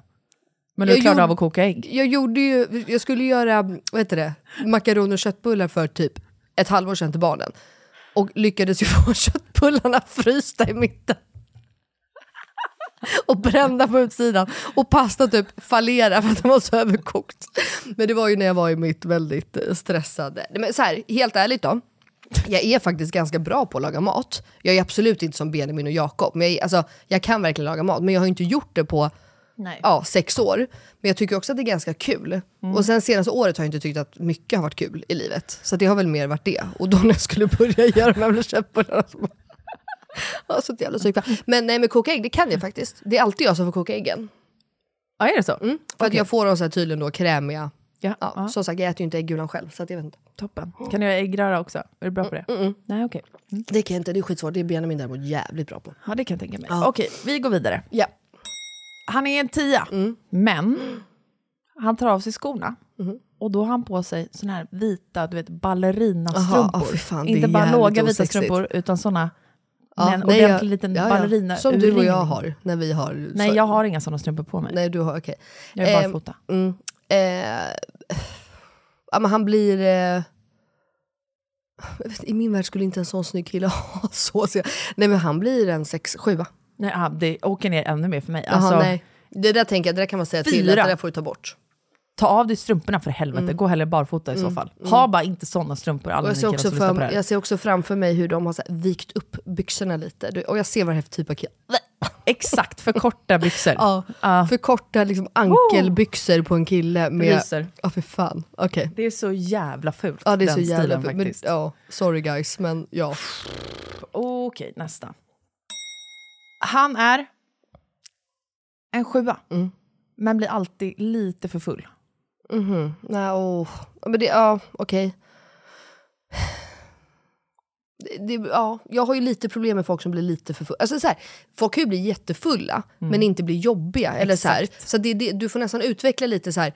Speaker 2: Men du
Speaker 1: Jag
Speaker 2: klarade
Speaker 1: gjorde-
Speaker 2: av att koka ägg.
Speaker 1: jag gjorde ju, jag skulle göra, vad heter det, makaroner och köttbullar för typ ett halvår sedan till barnen. Och lyckades ju få köttbullarna frysta i mitten. och brända på utsidan. Och pasta typ fallera för att den var så överkokt. Men det var ju när jag var i mitt väldigt eh, stressade... Nej, Men så här, helt ärligt då. Jag är faktiskt ganska bra på att laga mat. Jag är absolut inte som Benjamin och Jakob. Men jag, är- alltså, jag kan verkligen laga mat, men jag har ju inte gjort det på ja, sex år. Men jag tycker också att det är ganska kul. Och sen senaste året har jag inte tyckt att mycket har varit kul i livet. Så det har väl mer varit det. Och då när jag skulle börja göra de här jävla köttbullarna så bara- Alltså ett jävla psykfall. Men nej, men koka ägg, det kan jag faktiskt. Det är alltid jag som får koka äggen.
Speaker 2: Ja, är det så?
Speaker 1: Mm. För att jag får dem så här tydligen då krämiga.
Speaker 2: Ja,
Speaker 1: Ja,
Speaker 2: ja.
Speaker 1: Som sagt, jag äter ju inte äggulan själv. Så att jag vet inte.
Speaker 2: Toppen. Kan du göra äggröra också? Är du bra på det?
Speaker 1: Mm.
Speaker 2: Nej, okej.
Speaker 1: Det kan jag inte, det är skitsvårt. Det är Benjamin däremot jävligt bra på.
Speaker 2: Ja, det kan jag tänka mig.
Speaker 1: Ja.
Speaker 2: Okej, vi går vidare.
Speaker 1: Ja.
Speaker 2: Han är en tia,
Speaker 1: Mm.
Speaker 2: men han tar av sig skorna.
Speaker 1: Mm-hmm.
Speaker 2: Och då har han på sig såna här vita, du vet, ballerinastrumpor.
Speaker 1: Aha, ja, fy fan, det är
Speaker 2: Inte bara
Speaker 1: jävligt
Speaker 2: låga vita
Speaker 1: osexigt.
Speaker 2: strumpor, utan såna
Speaker 1: Ja,
Speaker 2: med en
Speaker 1: nej,
Speaker 2: ordentlig
Speaker 1: jag-
Speaker 2: liten
Speaker 1: ja, ja.
Speaker 2: ballerina
Speaker 1: Som du och jag har när vi har...
Speaker 2: Nej,
Speaker 1: så-
Speaker 2: jag har inga såna strumpor på mig.
Speaker 1: Nej, du har, okej.
Speaker 2: Jag är
Speaker 1: Ehm,
Speaker 2: barfota.
Speaker 1: Mm. Eh, ja, men han blir... Eh, jag vet, I min värld skulle inte en sån snygg kille ha så. så jag, nej men han blir en sex, sjua.
Speaker 2: Nej, ah, det åker ner ännu mer för mig.
Speaker 1: Jaha,
Speaker 2: Alltså,
Speaker 1: nej. Det där tänker jag, det där kan man säga till, att
Speaker 2: Fyra.
Speaker 1: det där får du ta bort. Mm.
Speaker 2: Ta av dig strumporna för helvete, gå hellre barfota i så fall. Ha bara inte såna strumpor, alla
Speaker 1: Och
Speaker 2: ni
Speaker 1: jag, ser
Speaker 2: killar
Speaker 1: också
Speaker 2: som lyssnar på det
Speaker 1: för,
Speaker 2: här.
Speaker 1: jag ser också framför mig hur de har så här, vikt upp byxorna lite. Du- Och jag ser vad det här för typ av kille...
Speaker 2: Exakt, för korta byxor.
Speaker 1: Ja, för korta liksom, ankelbyxor på en kille. Med,
Speaker 2: Ryser.
Speaker 1: Ja, för fan. Okej.
Speaker 2: Det är så jävla fult,
Speaker 1: Ja, det är
Speaker 2: den
Speaker 1: så jävla
Speaker 2: stilen
Speaker 1: fult. Men,
Speaker 2: faktiskt.
Speaker 1: ja, sorry guys, men ja.
Speaker 2: Okej, nästa. Han är en sjua,
Speaker 1: Mm.
Speaker 2: men blir alltid lite för full.
Speaker 1: Mhm. Nej, åh. Ja, Men det, ja, okej. Det, det, ja, jag har ju lite problem med folk som blir lite för fulla. Alltså, så här, folk kan ju bli jättefulla,
Speaker 2: Mm.
Speaker 1: men inte bli jobbiga. Eller så här. så det, det, du får nästan utveckla lite så här.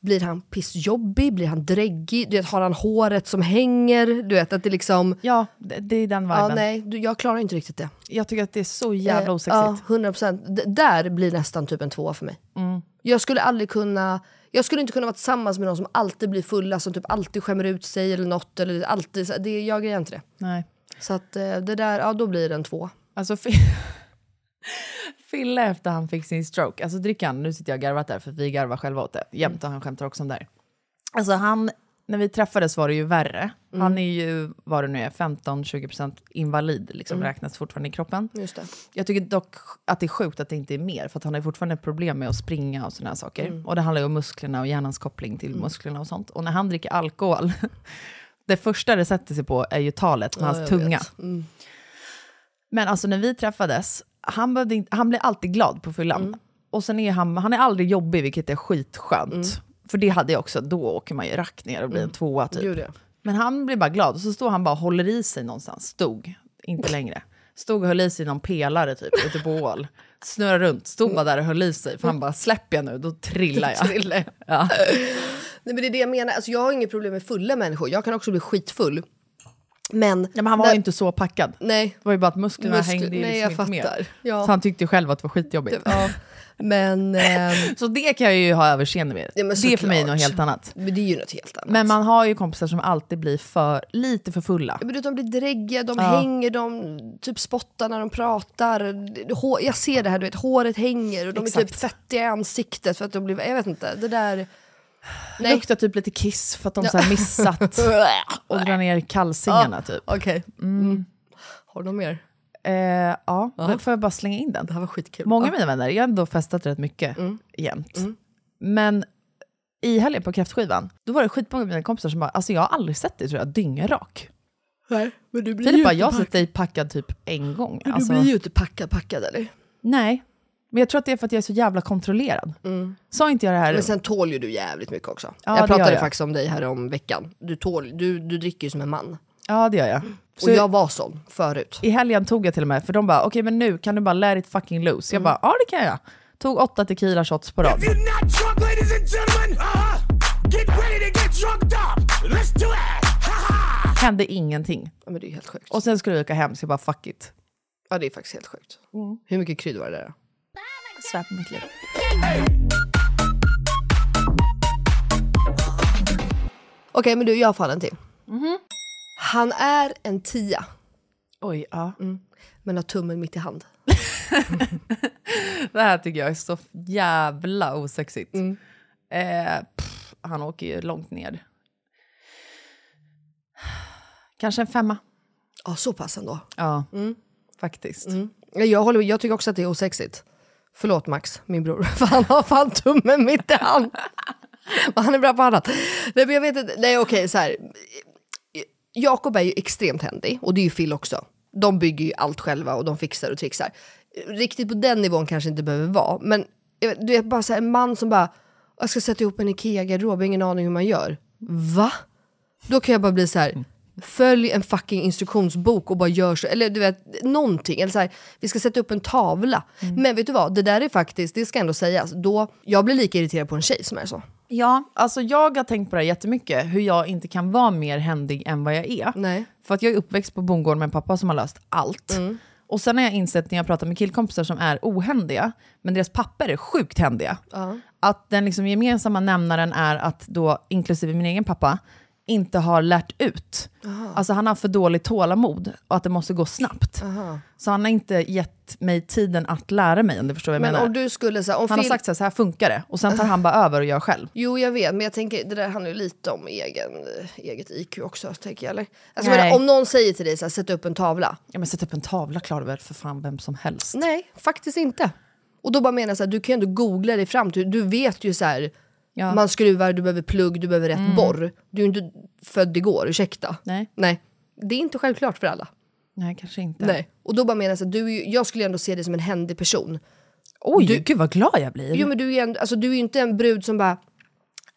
Speaker 1: Blir han pissjobbig? Blir han dräggig? Du vet, har han håret som hänger? Du vet, att det liksom...
Speaker 2: Ja, det, det är den
Speaker 1: Ja,
Speaker 2: viben.
Speaker 1: nej, du, jag klarar inte riktigt det.
Speaker 2: jag tycker att det är så jävla
Speaker 1: Eh,
Speaker 2: osexigt.
Speaker 1: Ja, 100%. D- där blir nästan typ en tvåa för mig. Jag skulle aldrig kunna... Jag skulle inte kunna vara tillsammans med någon som alltid blir fulla, som typ alltid skämmer ut sig eller något. Eller alltid, så- det, jag grejar inte det.
Speaker 2: Nej.
Speaker 1: Så att eh, det där, ja då blir det en två.
Speaker 2: Alltså, Fi- Fille efter han fick sin stroke, alltså dricker han, nu sitter jag och garvat där för vi garvar själva åt det jämt och
Speaker 1: Mm.
Speaker 2: han skämtar också om det här. Alltså han, när vi träffades var det ju värre.
Speaker 1: Mm.
Speaker 2: Han är ju, vad det nu är, 15-20% invalid, liksom räknas fortfarande i kroppen.
Speaker 1: Mm. Just det.
Speaker 2: Jag tycker dock att det är sjukt att det inte är mer, för att han har ju fortfarande problem med att springa och sådana här saker. Och det handlar ju om musklerna och hjärnans koppling till musklerna och sånt. Och när han dricker alkohol, det första det sätter sig på är ju talet med hans
Speaker 1: jag
Speaker 2: tunga.
Speaker 1: vet. Mm.
Speaker 2: Men alltså när vi träffades, han, behövde inte, han blev alltid glad på fyllan. Och sen är han, han är aldrig jobbig, vilket är skitskönt. För det hade jag också, då åker man ju rakt ner och blir en tvåa typ.
Speaker 1: Gud, ja.
Speaker 2: Men han blir bara glad och så står han bara och håller i sig någonstans. Stod, inte längre. Stod och höll i sig i någon pelare typ, ute på ål. Snurrar runt, stod bara där och höll i sig. För han bara, släpper jag nu, då trillar jag. Ja.
Speaker 1: Nej, men det är det jag menar, alltså, jag har inget problem med fulla människor. Jag kan också bli skitfull. Men...
Speaker 2: Ja, men han var ju inte så packad.
Speaker 1: Nej.
Speaker 2: Det var ju bara att musklerna
Speaker 1: Muskler-
Speaker 2: hängde ju
Speaker 1: nej, jag
Speaker 2: liksom inte med.
Speaker 1: fattar. Ja.
Speaker 2: Så han tyckte ju själv att det var skitjobbigt.
Speaker 1: Ja. Men, ehm,
Speaker 2: Så det kan jag ju ha överseende med.
Speaker 1: Ja, men
Speaker 2: det är för mig
Speaker 1: såklart.
Speaker 2: något helt annat.
Speaker 1: men det är ju något helt annat.
Speaker 2: Men man har ju kompisar som alltid blir för, lite för fulla.
Speaker 1: Ja, men De blir dräggiga, de hänger, de typ spottar när de pratar. Hår, jag ser det här, du vet, håret hänger och de är typ
Speaker 2: Exakt.
Speaker 1: fettiga i ansiktet för att de blir... Jag vet inte, det där... Nej.
Speaker 2: Luktar typ lite kiss för att de så här missat och drar ner kalsingarna typ.
Speaker 1: Okej. Mm. Har de mer?
Speaker 2: Eh, ja, men får jag bara slänga in den?
Speaker 1: Det här var skitkul.
Speaker 2: Många av
Speaker 1: ja.
Speaker 2: mina vänner, jag har ändå festat rätt mycket jämt. Men i helgen på kräftskivan, då var det skitmånga av mina kompisar som bara, alltså jag har aldrig sett dig tror jag, dyngrak.
Speaker 1: Nej, men du blir
Speaker 2: Filip bara,
Speaker 1: ju
Speaker 2: jag har
Speaker 1: inte
Speaker 2: sett dig packad typ en gång.
Speaker 1: packad.
Speaker 2: Alltså,
Speaker 1: Du blir ju inte packad, packad eller?
Speaker 2: Nej, men jag tror att det är för att jag är så jävla kontrollerad. Sa inte jag det här?
Speaker 1: Mm. Men sen tål ju du jävligt mycket också.
Speaker 2: Ja, det
Speaker 1: jag pratade
Speaker 2: gör jag.
Speaker 1: faktiskt om dig här om veckan. Du, tål, du, du dricker ju som en man.
Speaker 2: Ja, det gör jag. Så
Speaker 1: Och jag var sån förut.
Speaker 2: I helgen tog jag till och med, för de bara, okej men nu kan du bara let it fucking loose. Jag bara, ja det kan jag. Tog åtta tequila shots på rad.
Speaker 5: not drunk, ladies and gentlemen, uh-huh. get ready to get drunk up. Let's do it. Ha-ha.
Speaker 2: Hände ingenting.
Speaker 1: Ja, men det är ju helt sjukt.
Speaker 2: Och sen skulle vi åka hem, så jag bara fuck it.
Speaker 1: Ja, det är faktiskt helt sjukt.
Speaker 2: Mm.
Speaker 1: Hur mycket krydd var det där? då?
Speaker 2: Svär på mitt liv.
Speaker 1: Okej, men du, jag får en till.
Speaker 2: Mhm.
Speaker 1: Han är en tia,
Speaker 2: Oj, ja.
Speaker 1: men har tummen mitt i hand.
Speaker 2: Det här tycker jag är så jävla osexigt. Eh, pff, han åker ju långt ner. Kanske en femma.
Speaker 1: Ja, så pass ändå.
Speaker 2: Ja, faktiskt.
Speaker 1: Ja, Jag, håller, jag tycker också att det är osexigt. Förlåt Max, min bror, för han har fan tummen mitt i hand. Men han är bra på annat. Nej, men jag vet inte. Nej, okej, så här. Jakob är ju extremt händig, och det är ju Phil också. De bygger ju allt själva och de fixar och trixar. Riktigt på den nivån kanske inte behöver vara, men jag vet, du är bara så här, en man som bara, jag ska sätta ihop en IKEA-garderob, jag har ingen aning hur man gör. Va? Då kan jag bara bli så
Speaker 2: Mm.
Speaker 1: här, följ en fucking instruktionsbok och bara gör så, eller du vet, någonting. Eller så här, vi ska sätta upp en tavla.
Speaker 2: Mm.
Speaker 1: Men vet du vad, det där är faktiskt, det ska ändå sägas, då, jag blir lika irriterad på en tjej som är så.
Speaker 2: Ja, alltså jag har tänkt på det här jättemycket, hur jag inte kan vara mer händig än vad jag är.
Speaker 1: Nej.
Speaker 2: För att jag är uppväxt på bondgården med en pappa som har löst allt. Och sen har jag insett när jag pratar med killkompisar som är ohändiga, men deras papper är sjukt händiga. Att den liksom gemensamma nämnaren är att då, inklusive min egen pappa, inte har lärt ut.
Speaker 1: Aha.
Speaker 2: Alltså han har för dåligt tålamod och att det måste gå snabbt.
Speaker 1: Aha.
Speaker 2: Så han har inte gett mig tiden att lära mig om du förstår vad jag
Speaker 1: Men
Speaker 2: menar.
Speaker 1: om du skulle... Så här, om
Speaker 2: han har
Speaker 1: Phil-
Speaker 2: sagt så här, så här funkar det. Och sen tar han bara över och gör själv.
Speaker 1: Jo, jag vet, men jag tänker, det där handlar ju lite om egen, eh, eget IQ också, tänker jag. Eller? Alltså,
Speaker 2: Nej.
Speaker 1: men, om någon säger till dig så här, sätt upp en tavla.
Speaker 2: Ja men sätt upp en tavla klarar väl för fan vem som helst.
Speaker 1: Nej, faktiskt inte. Och då bara menar jag så här, du kan ju ändå googla dig fram till, du vet ju så här,
Speaker 2: Ja.
Speaker 1: man skruvar, du behöver plugg, du behöver rätt
Speaker 2: Mm.
Speaker 1: borr. Du är ju inte född igår, ursäkta.
Speaker 2: Nej.
Speaker 1: Nej, det är inte självklart för alla.
Speaker 2: Nej kanske inte.
Speaker 1: Nej. Och då bara menar jag så här, du, är ju- jag skulle ändå se dig som en händig person.
Speaker 2: Oj, gud vad glad jag blir.
Speaker 1: Jo men du är ju ändå- alltså, du är ju inte en brud som bara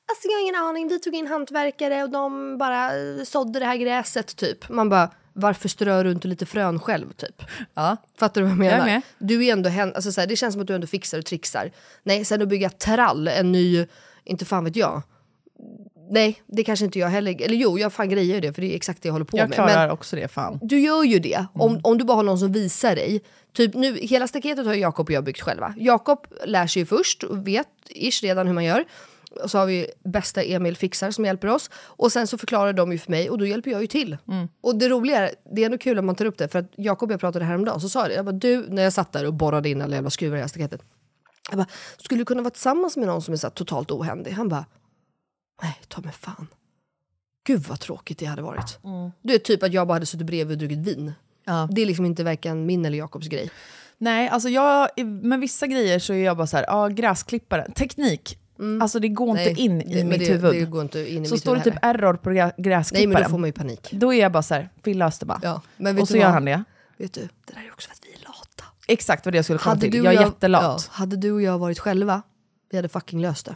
Speaker 1: Alltså jag har ingen aning, vi tog in hantverkare och de bara eh, sådde det här gräset typ. Man bara, varför strör du inte lite frön själv typ?
Speaker 2: Ja.
Speaker 1: Fattar du vad jag menar?
Speaker 2: Jag är med.
Speaker 1: Du är ändå hen, alltså, så här, det känns som att du ändå fixar och trixar. Nej, sen att bygga trall, en ny, inte fan vet jag. Nej, det kanske inte jag heller, eller jo, jag fan grejer ju det för det är exakt det jag håller på
Speaker 2: jag
Speaker 1: med.
Speaker 2: klarar
Speaker 1: Men-
Speaker 2: också det fan.
Speaker 1: du gör ju det om, om du bara har någon som visar dig. Typ nu, hela staketet har ju Jakob och jag byggt själva. Jakob lär sig ju först och vet ish redan hur man gör. Och så har vi bästa Emil Fixar som hjälper oss. Och sen så förklarar de ju för mig och då hjälper jag ju till. Och det roliga är, det är ändå kul om man tar upp det, för att Jakob och jag pratade häromdagen så sa jag det, jag bara, du, när jag satt där och borrade in alla jävla skruvar i det här staketet. Jag bara, skulle du kunna vara tillsammans med någon som är så här totalt ohändig? Han bara, nej ta mig fan. Gud vad tråkigt det hade varit. Du är typ att jag bara hade suttit bredvid och druckit vin. Det är liksom inte varken min eller Jakobs grej.
Speaker 2: Nej, alltså jag, med vissa grejer så är jag bara så här, ja gräsklippare, teknik. Alltså det går inte
Speaker 1: Mm. Nej,
Speaker 2: in
Speaker 1: det-
Speaker 2: i
Speaker 1: men
Speaker 2: mitt
Speaker 1: det-
Speaker 2: huvud.
Speaker 1: det går inte in i
Speaker 2: så
Speaker 1: mitt
Speaker 2: står det
Speaker 1: huvud
Speaker 2: typ error på grä- gräsklipparen.
Speaker 1: Nej men då får man ju panik.
Speaker 2: Då är jag bara så här, Phil löste bara.
Speaker 1: Ja, men vet
Speaker 2: och så
Speaker 1: du
Speaker 2: gör
Speaker 1: vad?
Speaker 2: han det.
Speaker 1: Vet du, det där
Speaker 2: är också för att vi är lata. Exakt vad det jag skulle komma
Speaker 1: Hade du
Speaker 2: till.
Speaker 1: och
Speaker 2: Jag är
Speaker 1: jag-
Speaker 2: jättelat.
Speaker 1: ja, hade du och jag varit själva, vi hade fucking löst det.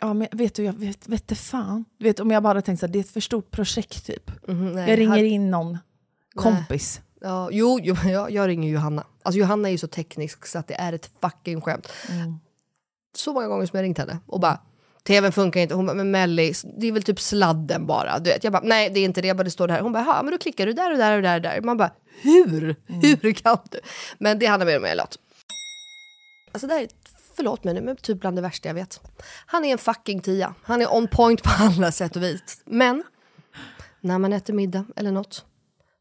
Speaker 2: Ja, men vet du, jag vet, vet det fan. Du vet, om jag bara hade tänkt så här, det är ett för stort projekt typ.
Speaker 1: Mhm, nej,
Speaker 2: jag ringer
Speaker 1: hade-
Speaker 2: in någon kompis.
Speaker 1: Ja, jo, jo men jag, jag ringer Johanna. Alltså Johanna är ju så teknisk så att det är ett fucking skämt. Så många gånger som jag ringt henne och bara TVn funkar inte, hon bara, men Melly, det är väl typ sladden bara. Du vet. Jag bara, nej det är inte det, jag bara, det står där. Hon bara, ja men då klickar du där och där och där och där. Man bara, hur? Hur kan du? Men det handlar mer om elat. Alltså det här är, förlåt mig nu, men typ bland det värsta jag vet. Han är en fucking tia. Han är on point på alla sätt och vis. Men när man äter middag eller något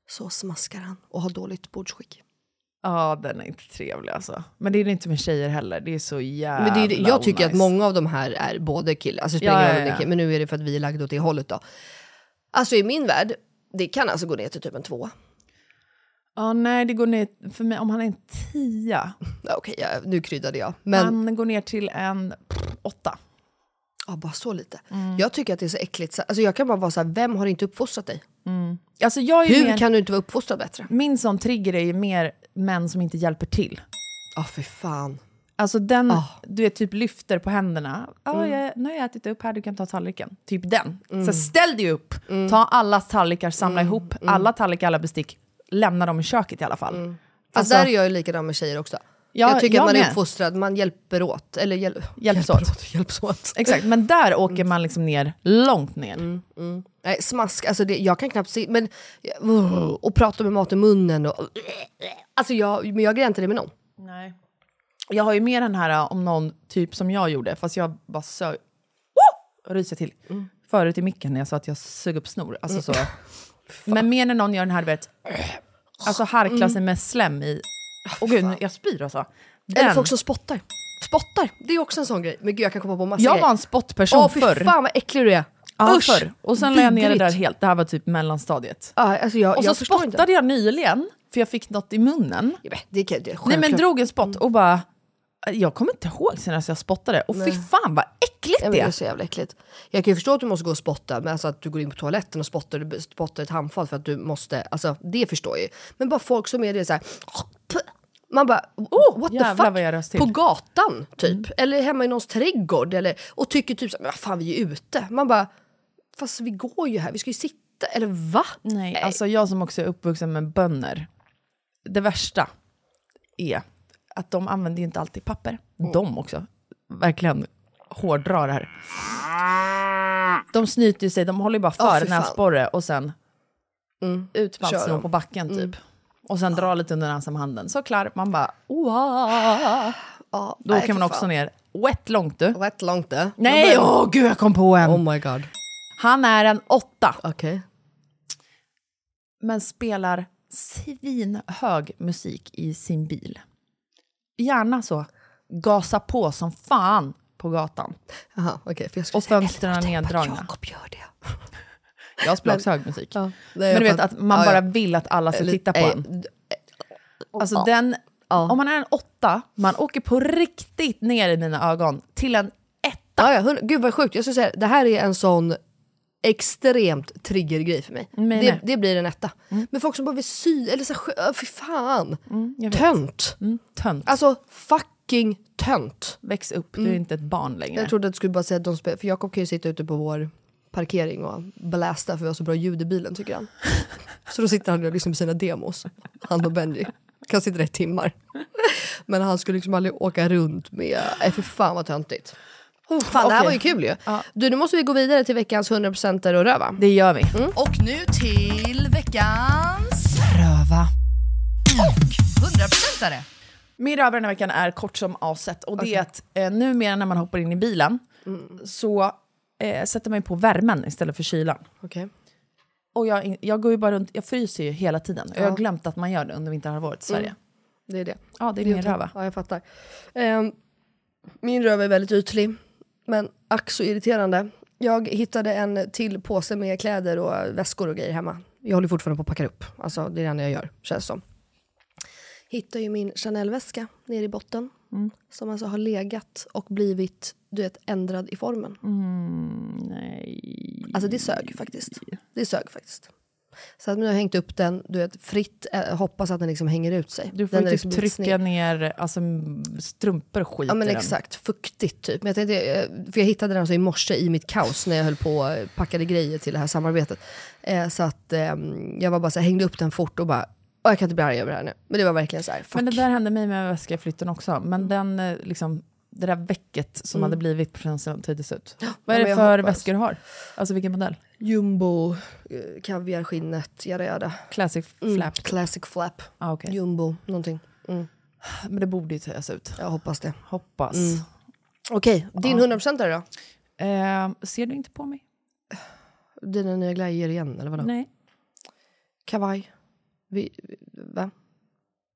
Speaker 1: så smaskar han och har dåligt bordsskick.
Speaker 2: Ja, den är inte trevlig alltså. Men det är det inte med tjejer heller. Det är så jävla
Speaker 1: Men det är, det- jag tycker att
Speaker 2: onajs.
Speaker 1: många av de här är både killar, alltså det spelar
Speaker 2: Ja,
Speaker 1: ingen
Speaker 2: ja,
Speaker 1: roll om det är
Speaker 2: ja.
Speaker 1: kill- men nu är det för att vi är lagda åt det hållet då. Alltså i min värld, det kan alltså gå ner till typ en tvåa.
Speaker 2: Ja, nej, det går ner, för mig, om han är en tia,
Speaker 1: Ja, Okej, jag- nu kryddade jag. Men
Speaker 2: han går ner till en pff, åtta.
Speaker 1: ja, bara så lite.
Speaker 2: Mm.
Speaker 1: Jag tycker att det är så äckligt, så- alltså jag kan bara vara så här, vem har inte uppfostrat dig?
Speaker 2: Alltså, jag är ju
Speaker 1: Hur
Speaker 2: mer,
Speaker 1: kan du inte vara uppfostrad bättre?
Speaker 2: Min sån trigger är ju mer män som inte hjälper till.
Speaker 1: Ja, för Ah, fan. Ah.
Speaker 2: Alltså den, du är typ lyfter på händerna. Ja,
Speaker 1: Mm.
Speaker 2: jag, nu har jag ätit upp här, du kan ta tallriken. Typ den. Så ställ dig upp,
Speaker 1: Mm.
Speaker 2: ta alla tallrikar, samla ihop alla tallrikar, alla bestick. Lämna dem i köket i alla fall.
Speaker 1: Alltså, där är jag ju likadan med tjejer också.
Speaker 2: Ja,
Speaker 1: jag tycker
Speaker 2: jag
Speaker 1: att man är
Speaker 2: med.
Speaker 1: uppfostrad, man hjälper åt. Eller hjäl
Speaker 2: Hjälps åt.
Speaker 1: Hjälps åt. Mm.
Speaker 2: Exakt, men där åker man liksom ner, långt ner.
Speaker 1: Nej, smask, alltså det, jag kan knappt se, men, uh, och prata med mat i munnen. Och, alltså jag, men jag grejar inte det med någon.
Speaker 2: Nej. Jag har ju mer den här äh, om någon typ som jag gjorde, fast jag bara sög... Oh! Ryser till.
Speaker 1: Mm.
Speaker 2: Förut i micken när jag sa att jag sög upp snor. Alltså så. Men mer när någon gör den här, du vet...
Speaker 1: Mm.
Speaker 2: Alltså harklar sig med slem i... Åh gud, nu- jag spyr alltså.
Speaker 1: Ah, Eller
Speaker 2: Den-
Speaker 1: folk som spottar. Spottar, det är också en sån grej. Men gud jag kan komma på massa
Speaker 2: Jag
Speaker 1: grejer.
Speaker 2: var en spottperson
Speaker 1: Åh, fy
Speaker 2: förr.
Speaker 1: fan vad äcklig du är.
Speaker 2: Ja,
Speaker 1: Usch,
Speaker 2: förr. Och sen la jag ner det där
Speaker 1: vidrigt.
Speaker 2: helt. Det här var typ mellanstadiet.
Speaker 1: Ja, alltså jag,
Speaker 2: Och så
Speaker 1: jag förstår
Speaker 2: spottade
Speaker 1: inte.
Speaker 2: jag nyligen, för jag fick något i munnen.
Speaker 1: Det, kan- det, är
Speaker 2: Nej men
Speaker 1: självklart. Mm.
Speaker 2: drog en spott och bara... Jag kommer inte ihåg senast jag spottade. Och fy
Speaker 1: Nej.
Speaker 2: fan vad äckligt
Speaker 1: Ja, men
Speaker 2: det
Speaker 1: det är så jävla äckligt. Jag kan ju förstå att du måste gå och spotta, men alltså att du går in på toaletten och spottar, du spottar ett handfat för att du måste, alltså det förstår jag ju. Men bara folk som är det så här. Man bara, oh, what the
Speaker 2: jävlar
Speaker 1: fuck?
Speaker 2: vad jag röst till. Mm.
Speaker 1: På gatan typ, eller hemma i någons trädgård eller, och tycker typ så här, men vad fan vi är ute. Man bara, fast vi går ju här, vi ska ju sitta, eller va?
Speaker 2: Nej, alltså jag som också är uppvuxen med bönder. Det värsta är att de använder ju inte alltid papper.
Speaker 1: Mm.
Speaker 2: De också. Verkligen hårdrar det här. De snyter ju sig, de håller ju bara
Speaker 1: Ja,
Speaker 2: för
Speaker 1: fy fan. Mm,
Speaker 2: näsborre och sen ut med
Speaker 1: Kör Mm.
Speaker 2: allt snor
Speaker 1: dem.
Speaker 2: på backen typ. Och sen drar lite under näsan med handen. Så klar, man bara... Oah. Då
Speaker 1: nej,
Speaker 2: åker man
Speaker 1: för
Speaker 2: också
Speaker 1: fan.
Speaker 2: ner. Wet långt du.
Speaker 1: Rätt långt det.
Speaker 2: Nej, åh gud jag kom på en!
Speaker 1: eh. Oh my god.
Speaker 2: Han är en åtta.
Speaker 1: Okay.
Speaker 2: Men spelar svinhög musik i sin bil. Gärna så, gasa på som fan på gatan.
Speaker 1: Aha, okay, för jag
Speaker 2: Och fönstren är neddragna.
Speaker 1: Jakob gör det.
Speaker 2: Jag spelar också hög musik. Men du vet att man bara vill att alla ska titta på en. Alltså den, om man är en åtta, man åker på riktigt ner i mina ögon till en etta.
Speaker 1: Ja, ja, hund- gud vad sjukt. Jag skulle säga, det här är en sån extremt triggergrej för mig.
Speaker 2: Men
Speaker 1: det,
Speaker 2: nej.
Speaker 1: det blir en etta.
Speaker 2: Mm.
Speaker 1: Men folk som bara vill sy, eller så här, skö- äh, fy fan.
Speaker 2: jag vet. Mm,
Speaker 1: tönt.
Speaker 2: tönt.
Speaker 1: Alltså fucking tönt.
Speaker 2: Väx upp, du
Speaker 1: Mm.
Speaker 2: är inte ett barn längre.
Speaker 1: Jag trodde att du skulle bara säga att de spelar, för Jakob kan ju sitta ute på vår parkering och blästa för vi har så bra ljud i bilen tycker han. Så då sitter han och lyssnar på sina demos, han och Benji. Kan sitta där i timmar. Men han skulle liksom aldrig åka runt med, nej fy fan vad töntigt. Oh, fan det här
Speaker 2: okej.
Speaker 1: var ju kul ju. Du nu måste vi gå vidare till veckans 100% och röva.
Speaker 2: Det gör vi.
Speaker 1: Och nu till veckans
Speaker 2: Röva.
Speaker 1: 100%are.
Speaker 2: Min röva den här veckan är kort som aset. Och det är att eh, numera när man hoppar in i bilen
Speaker 1: Mm.
Speaker 2: så eh, sätter man ju på värmen istället för kylan.
Speaker 1: Okej.
Speaker 2: Och jag, jag går ju bara runt, jag fryser ju hela tiden. Och jag
Speaker 1: Ja.
Speaker 2: har glömt att man gör det under vinterhalvåret i Sverige.
Speaker 1: Mm. Det är det.
Speaker 2: Ja, det är
Speaker 1: Det är
Speaker 2: min
Speaker 1: okej.
Speaker 2: röva.
Speaker 1: Ja, jag fattar. Ehm, min röv är väldigt ytlig, men ack så irriterande. Jag hittade en till påse med kläder och väskor och grejer hemma. Jag håller fortfarande på att packa upp. Alltså, det är det enda jag gör, känns som. Hittar ju min Chanel-väska nere i botten.
Speaker 2: Mm.
Speaker 1: Som alltså har legat och blivit, du vet, ändrad i formen.
Speaker 2: Mm, Nej.
Speaker 1: Alltså det sög faktiskt. Det sög faktiskt. Så att nu har jag hängt upp den, du vet, fritt. Eh, hoppas att den liksom hänger ut sig.
Speaker 2: Du får
Speaker 1: den är
Speaker 2: ju typ
Speaker 1: liksom blivit
Speaker 2: trycka ner alltså, m- strumpor och skit
Speaker 1: Ja men
Speaker 2: i den.
Speaker 1: exakt, fuktigt typ. Men jag tänkte, eh, för jag hittade den alltså i morse i mitt kaos när jag höll på och packade grejer till det här samarbetet. Eh, så att eh, jag var bara så här, hängde upp den fort och bara, "Åh, jag kan inte bli arg över det här nu. Men det var verkligen så här, fuck.
Speaker 2: Men det där hände mig med väskaflytten också. Men den, eh, liksom, det där väcket som
Speaker 1: Mm.
Speaker 2: hade blivit på känslan tyddes ut. Vad
Speaker 1: men
Speaker 2: är det
Speaker 1: jag
Speaker 2: för
Speaker 1: hoppas.
Speaker 2: väskor du har? Alltså vilken modell?
Speaker 1: Jumbo, eh, kaviarskinnet, jada jada.
Speaker 2: Classic
Speaker 1: Mm,
Speaker 2: flap?
Speaker 1: Classic flap,
Speaker 2: Ah, okej.
Speaker 1: jumbo, någonting. Mm.
Speaker 2: Men det borde ju töjas ut.
Speaker 1: Jag hoppas det.
Speaker 2: Hoppas.
Speaker 1: Mm. Okej, din 100% då?
Speaker 2: Eh, ser du inte på mig?
Speaker 1: Dina nya glajjor igen eller vadå?
Speaker 2: Nej.
Speaker 1: Kavaj? Vi, vi- va?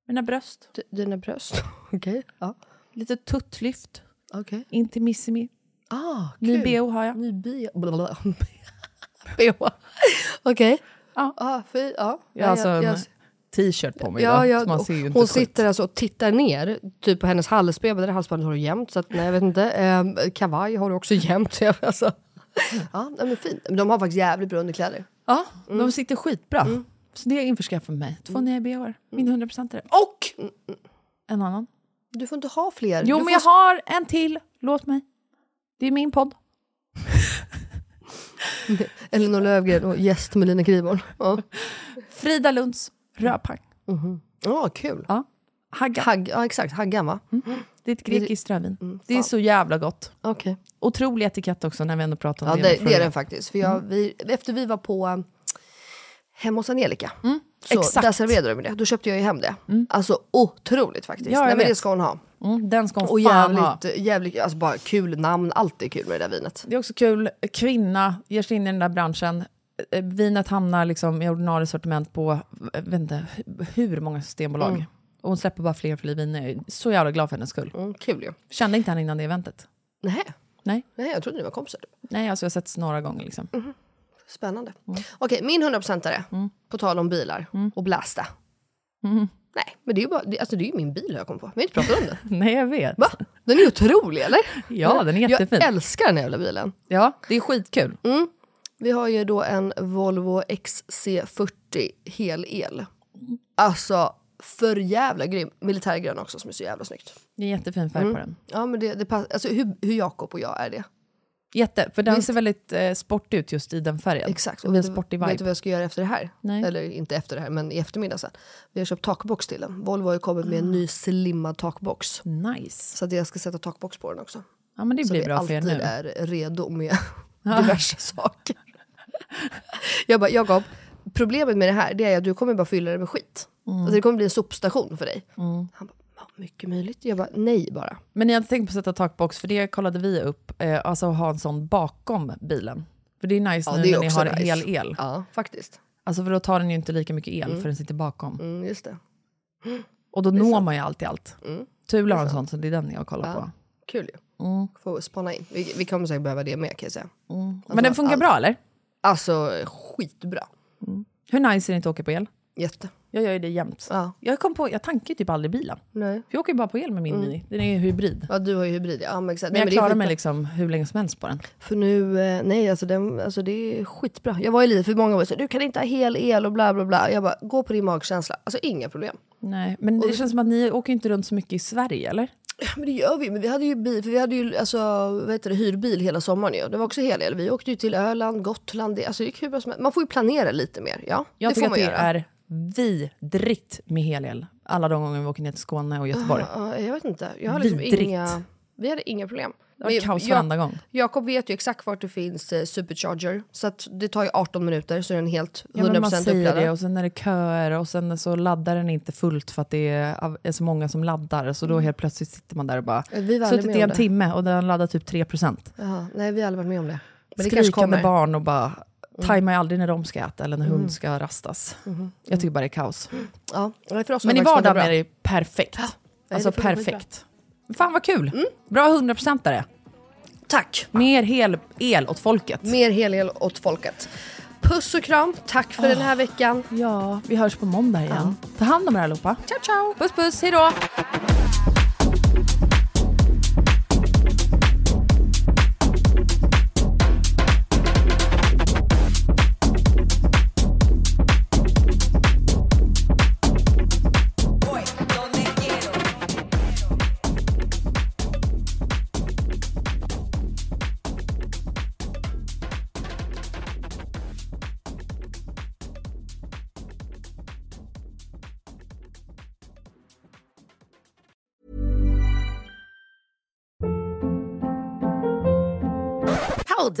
Speaker 2: Mina bröst.
Speaker 1: D- dina bröst? Okej. Ja.
Speaker 2: Lite tuttlyft.
Speaker 1: Okej.
Speaker 2: Intimissimi.
Speaker 1: Ah,
Speaker 2: Ny
Speaker 1: kul.
Speaker 2: bh har jag.
Speaker 1: Ny bio. Blablabla. BH. Okej.
Speaker 2: Ja.
Speaker 1: Ah, fy, ja.
Speaker 2: Jag har alltså
Speaker 1: jag,
Speaker 2: en
Speaker 1: jag,
Speaker 2: t-shirt på mig
Speaker 1: ja,
Speaker 2: idag.
Speaker 1: jag,
Speaker 2: så man ser ju inte
Speaker 1: hon
Speaker 2: skit.
Speaker 1: sitter alltså och tittar ner, typ på hennes halsben. Jag bara, Det där halsbandet har du jämt, så att, nej, jag vet inte. Ehm, kavaj har du också jämt. så jag- Alltså. Ja, nej, men fint. Men De har faktiskt jävligt bra underkläder.
Speaker 2: Ja,
Speaker 1: Mm.
Speaker 2: de sitter skitbra. Så det är införskaffat för mig. Två nya bhar.
Speaker 1: Mm.
Speaker 2: Min 100% är det. Och en annan.
Speaker 1: Du får inte ha fler.
Speaker 2: Jo,
Speaker 1: du
Speaker 2: men
Speaker 1: får
Speaker 2: jag har en till. Låt mig. Det är min podd.
Speaker 1: Elinor Löfgren och gäst med Lina Kriborn. Ja,
Speaker 2: Frida Lunds Röpang.
Speaker 1: Ja, kul. Mm.
Speaker 2: Ja. Hagga.
Speaker 1: Hagg, ja, exakt. Haggan, va?
Speaker 2: Det är ett grekiskt rödvin. det är
Speaker 1: Mm, fan.
Speaker 2: så jävla gott.
Speaker 1: Okej.
Speaker 2: Otrolig etikett också när vi ändå pratar om
Speaker 1: Ja,
Speaker 2: det.
Speaker 1: det,
Speaker 2: från-
Speaker 1: det är den faktiskt. För
Speaker 2: Mm.
Speaker 1: jag, vi, efter vi var på um, hemma hos Angelica, så
Speaker 2: Mm, exakt.
Speaker 1: där serverade de det. Då köpte jag ju hem det. Alltså otroligt faktiskt.
Speaker 2: Ja, jag
Speaker 1: Nej, men det
Speaker 2: vet.
Speaker 1: ska hon ha.
Speaker 2: Mm, den ska hon
Speaker 1: Och
Speaker 2: fan ha.
Speaker 1: jävligt, jävligt, alltså bara kul namn. Allt är kul med det där vinet.
Speaker 2: Det är också kul, kvinna ger sig in i den där branschen. Eh, Vinet hamnar liksom i ordinarie sortiment på eh, vet inte, hu- hur många systembolag. Och hon släpper bara fler och fler viner. Jag är så jävla glad för hennes skull.
Speaker 1: Mm, kul ju.
Speaker 2: Kände inte henne innan det eventet.
Speaker 1: Nej.
Speaker 2: Nej.
Speaker 1: Nej, jag trodde ni var kompisar.
Speaker 2: Nej, alltså jag har sett några gånger. Liksom.
Speaker 1: Spännande.
Speaker 2: Mm.
Speaker 1: Okej, min 100%are, på tal om bilar och blästa.
Speaker 2: Mm.
Speaker 1: Nej, men det är ju bara, det, alltså det är ju min bil jag kom på. Vi har inte pratat om den.
Speaker 2: Nej, jag vet.
Speaker 1: Va? Den är ju otrolig, eller?
Speaker 2: Ja, den är jättefin.
Speaker 1: Jag älskar den här jävla bilen.
Speaker 2: Ja, det är skitkul.
Speaker 1: Vi har ju då en Volvo XC40 hel-el.
Speaker 2: Mm.
Speaker 1: Alltså, för jävla grym. Militärgrön också, som är så jävla snyggt.
Speaker 2: Det är jättefin färg på den.
Speaker 1: Ja, men det, det pass, alltså, hur, hur Jakob och jag är det.
Speaker 2: Jätte, för den
Speaker 1: Visst.
Speaker 2: ser väldigt eh, sportig ut just i den färgen.
Speaker 1: Exakt.
Speaker 2: Och det är en
Speaker 1: vet du-
Speaker 2: sportig
Speaker 1: Vet du
Speaker 2: vibe.
Speaker 1: vad jag ska göra efter det här?
Speaker 2: Nej.
Speaker 1: Eller inte efter det här, men i eftermiddag sen. Vi har köpt takbox till den. Volvo har ju kommit med en ny slimmad takbox.
Speaker 2: Nice.
Speaker 1: Så att jag ska sätta takbox på den också.
Speaker 2: Ja, men det
Speaker 1: så
Speaker 2: blir
Speaker 1: vi
Speaker 2: bra för er
Speaker 1: alltid
Speaker 2: nu.
Speaker 1: är redo med diverse saker. Jag bara, Jakob, problemet med det här det är att du kommer bara fylla det med skit.
Speaker 2: Mm.
Speaker 1: Alltså det kommer bli en sopstation för dig. Han bara, "Ja, mycket möjligt. Jag bara, nej bara.
Speaker 2: Men ni har inte tänkt på att sätta takbox, för det kollade vi upp. Eh, alltså att ha en sån bakom bilen. För det är nice
Speaker 1: Ja,
Speaker 2: nu
Speaker 1: det är
Speaker 2: när ni
Speaker 1: också
Speaker 2: har
Speaker 1: nice.
Speaker 2: hel el.
Speaker 1: Ja, faktiskt.
Speaker 2: Alltså för då tar den ju inte lika mycket el
Speaker 1: Mm.
Speaker 2: för den sitter bakom.
Speaker 1: Mm, just det.
Speaker 2: Och då når man ju alltid allt.
Speaker 1: Mm.
Speaker 2: Thula har en sån, så det är den jag kollar
Speaker 1: Ja,
Speaker 2: på.
Speaker 1: Kul ju. Får spana in. Vi, vi kommer säkert behöva det med kan jag säga. Alltså,
Speaker 2: Mm. Men den funkar
Speaker 1: allt.
Speaker 2: bra eller?
Speaker 1: Alltså skitbra.
Speaker 2: Hur nice är det inte att åka på el?
Speaker 1: Jätte.
Speaker 2: Jag gör ju det jämt.
Speaker 1: Ja.
Speaker 2: Jag kom på, jag tankar ju typ aldrig bilen.
Speaker 1: Nej.
Speaker 2: För jag åker ju bara på el med min
Speaker 1: Mm.
Speaker 2: mini. Den är ju hybrid.
Speaker 1: Ja, du har ju hybrid. Ja, men exakt.
Speaker 2: Men jag
Speaker 1: Nej, det är
Speaker 2: klarar mig
Speaker 1: skitbra.
Speaker 2: liksom hur länge som helst på den.
Speaker 1: För nu, eh, nej alltså, den, alltså det är skitbra. Jag var ju lite för många år sedan, du kan inte ha hel el och bla bla bla. Jag bara, gå på din magkänsla. Alltså inga problem.
Speaker 2: Nej, men det känns som att ni åker ju inte runt så mycket i Sverige eller?
Speaker 1: Men det gör vi men vi hade ju bil, för vi hade ju alltså, vad heter det, hyrbil hela sommaren ju. Det var också hel el. Vi åkte ju till Öland, Gotland, det, alltså det gick hur bra som helst. Man får ju planera lite mer, ja.
Speaker 2: Jag
Speaker 1: det
Speaker 2: tycker
Speaker 1: får
Speaker 2: att
Speaker 1: man
Speaker 2: det
Speaker 1: göra.
Speaker 2: är vidrigt med helel. Alla de gånger vi åker ner till Skåne och Göteborg.
Speaker 1: Ja, Ah, jag vet inte. Jag har liksom
Speaker 2: Vidrigt.
Speaker 1: inga, vi hade inga problem.
Speaker 2: Det var
Speaker 1: Men
Speaker 2: kaos
Speaker 1: jag-
Speaker 2: varenda gång.
Speaker 1: Jakob vet ju exakt vart det finns eh, supercharger. Så att det tar ju 18 minuter så är den helt 100%
Speaker 2: Ja, men man säger det
Speaker 1: uppladdad.
Speaker 2: och sen är det köer och sen så laddar den inte fullt för att det är av- är så många som laddar. Så då
Speaker 1: Mm.
Speaker 2: helt plötsligt sitter man där och bara
Speaker 1: Vi var aldrig
Speaker 2: suttit
Speaker 1: med
Speaker 2: i
Speaker 1: om
Speaker 2: en
Speaker 1: det.
Speaker 2: timme och den laddar typ 3%.
Speaker 1: Jaha, nej, vi har aldrig varit med om det. Men det kanske
Speaker 2: Skrikande
Speaker 1: kommer.
Speaker 2: barn och bara
Speaker 1: Mm.
Speaker 2: tajmar ju aldrig när de ska äta eller när
Speaker 1: Mm.
Speaker 2: hund ska rastas.
Speaker 1: Mhm.
Speaker 2: Jag tycker bara det är kaos.
Speaker 1: Ja, nej, för oss har
Speaker 2: Men i
Speaker 1: det faktiskt
Speaker 2: vardagen
Speaker 1: varit
Speaker 2: är
Speaker 1: bra.
Speaker 2: det ju perfekt.
Speaker 1: det
Speaker 2: alltså
Speaker 1: funkar skitbra.
Speaker 2: perfekt. Fan vad kul! Bra 100%are.
Speaker 1: Tack!
Speaker 2: Mer hel el åt folket.
Speaker 1: Mer hel el åt folket. Puss och kram, tack
Speaker 2: Ah.
Speaker 1: för den här veckan.
Speaker 2: Ja, vi hörs på måndag igen. Ta hand om er allihopa.
Speaker 1: Ciao ciao!
Speaker 2: Puss puss, hejdå!
Speaker 6: Hold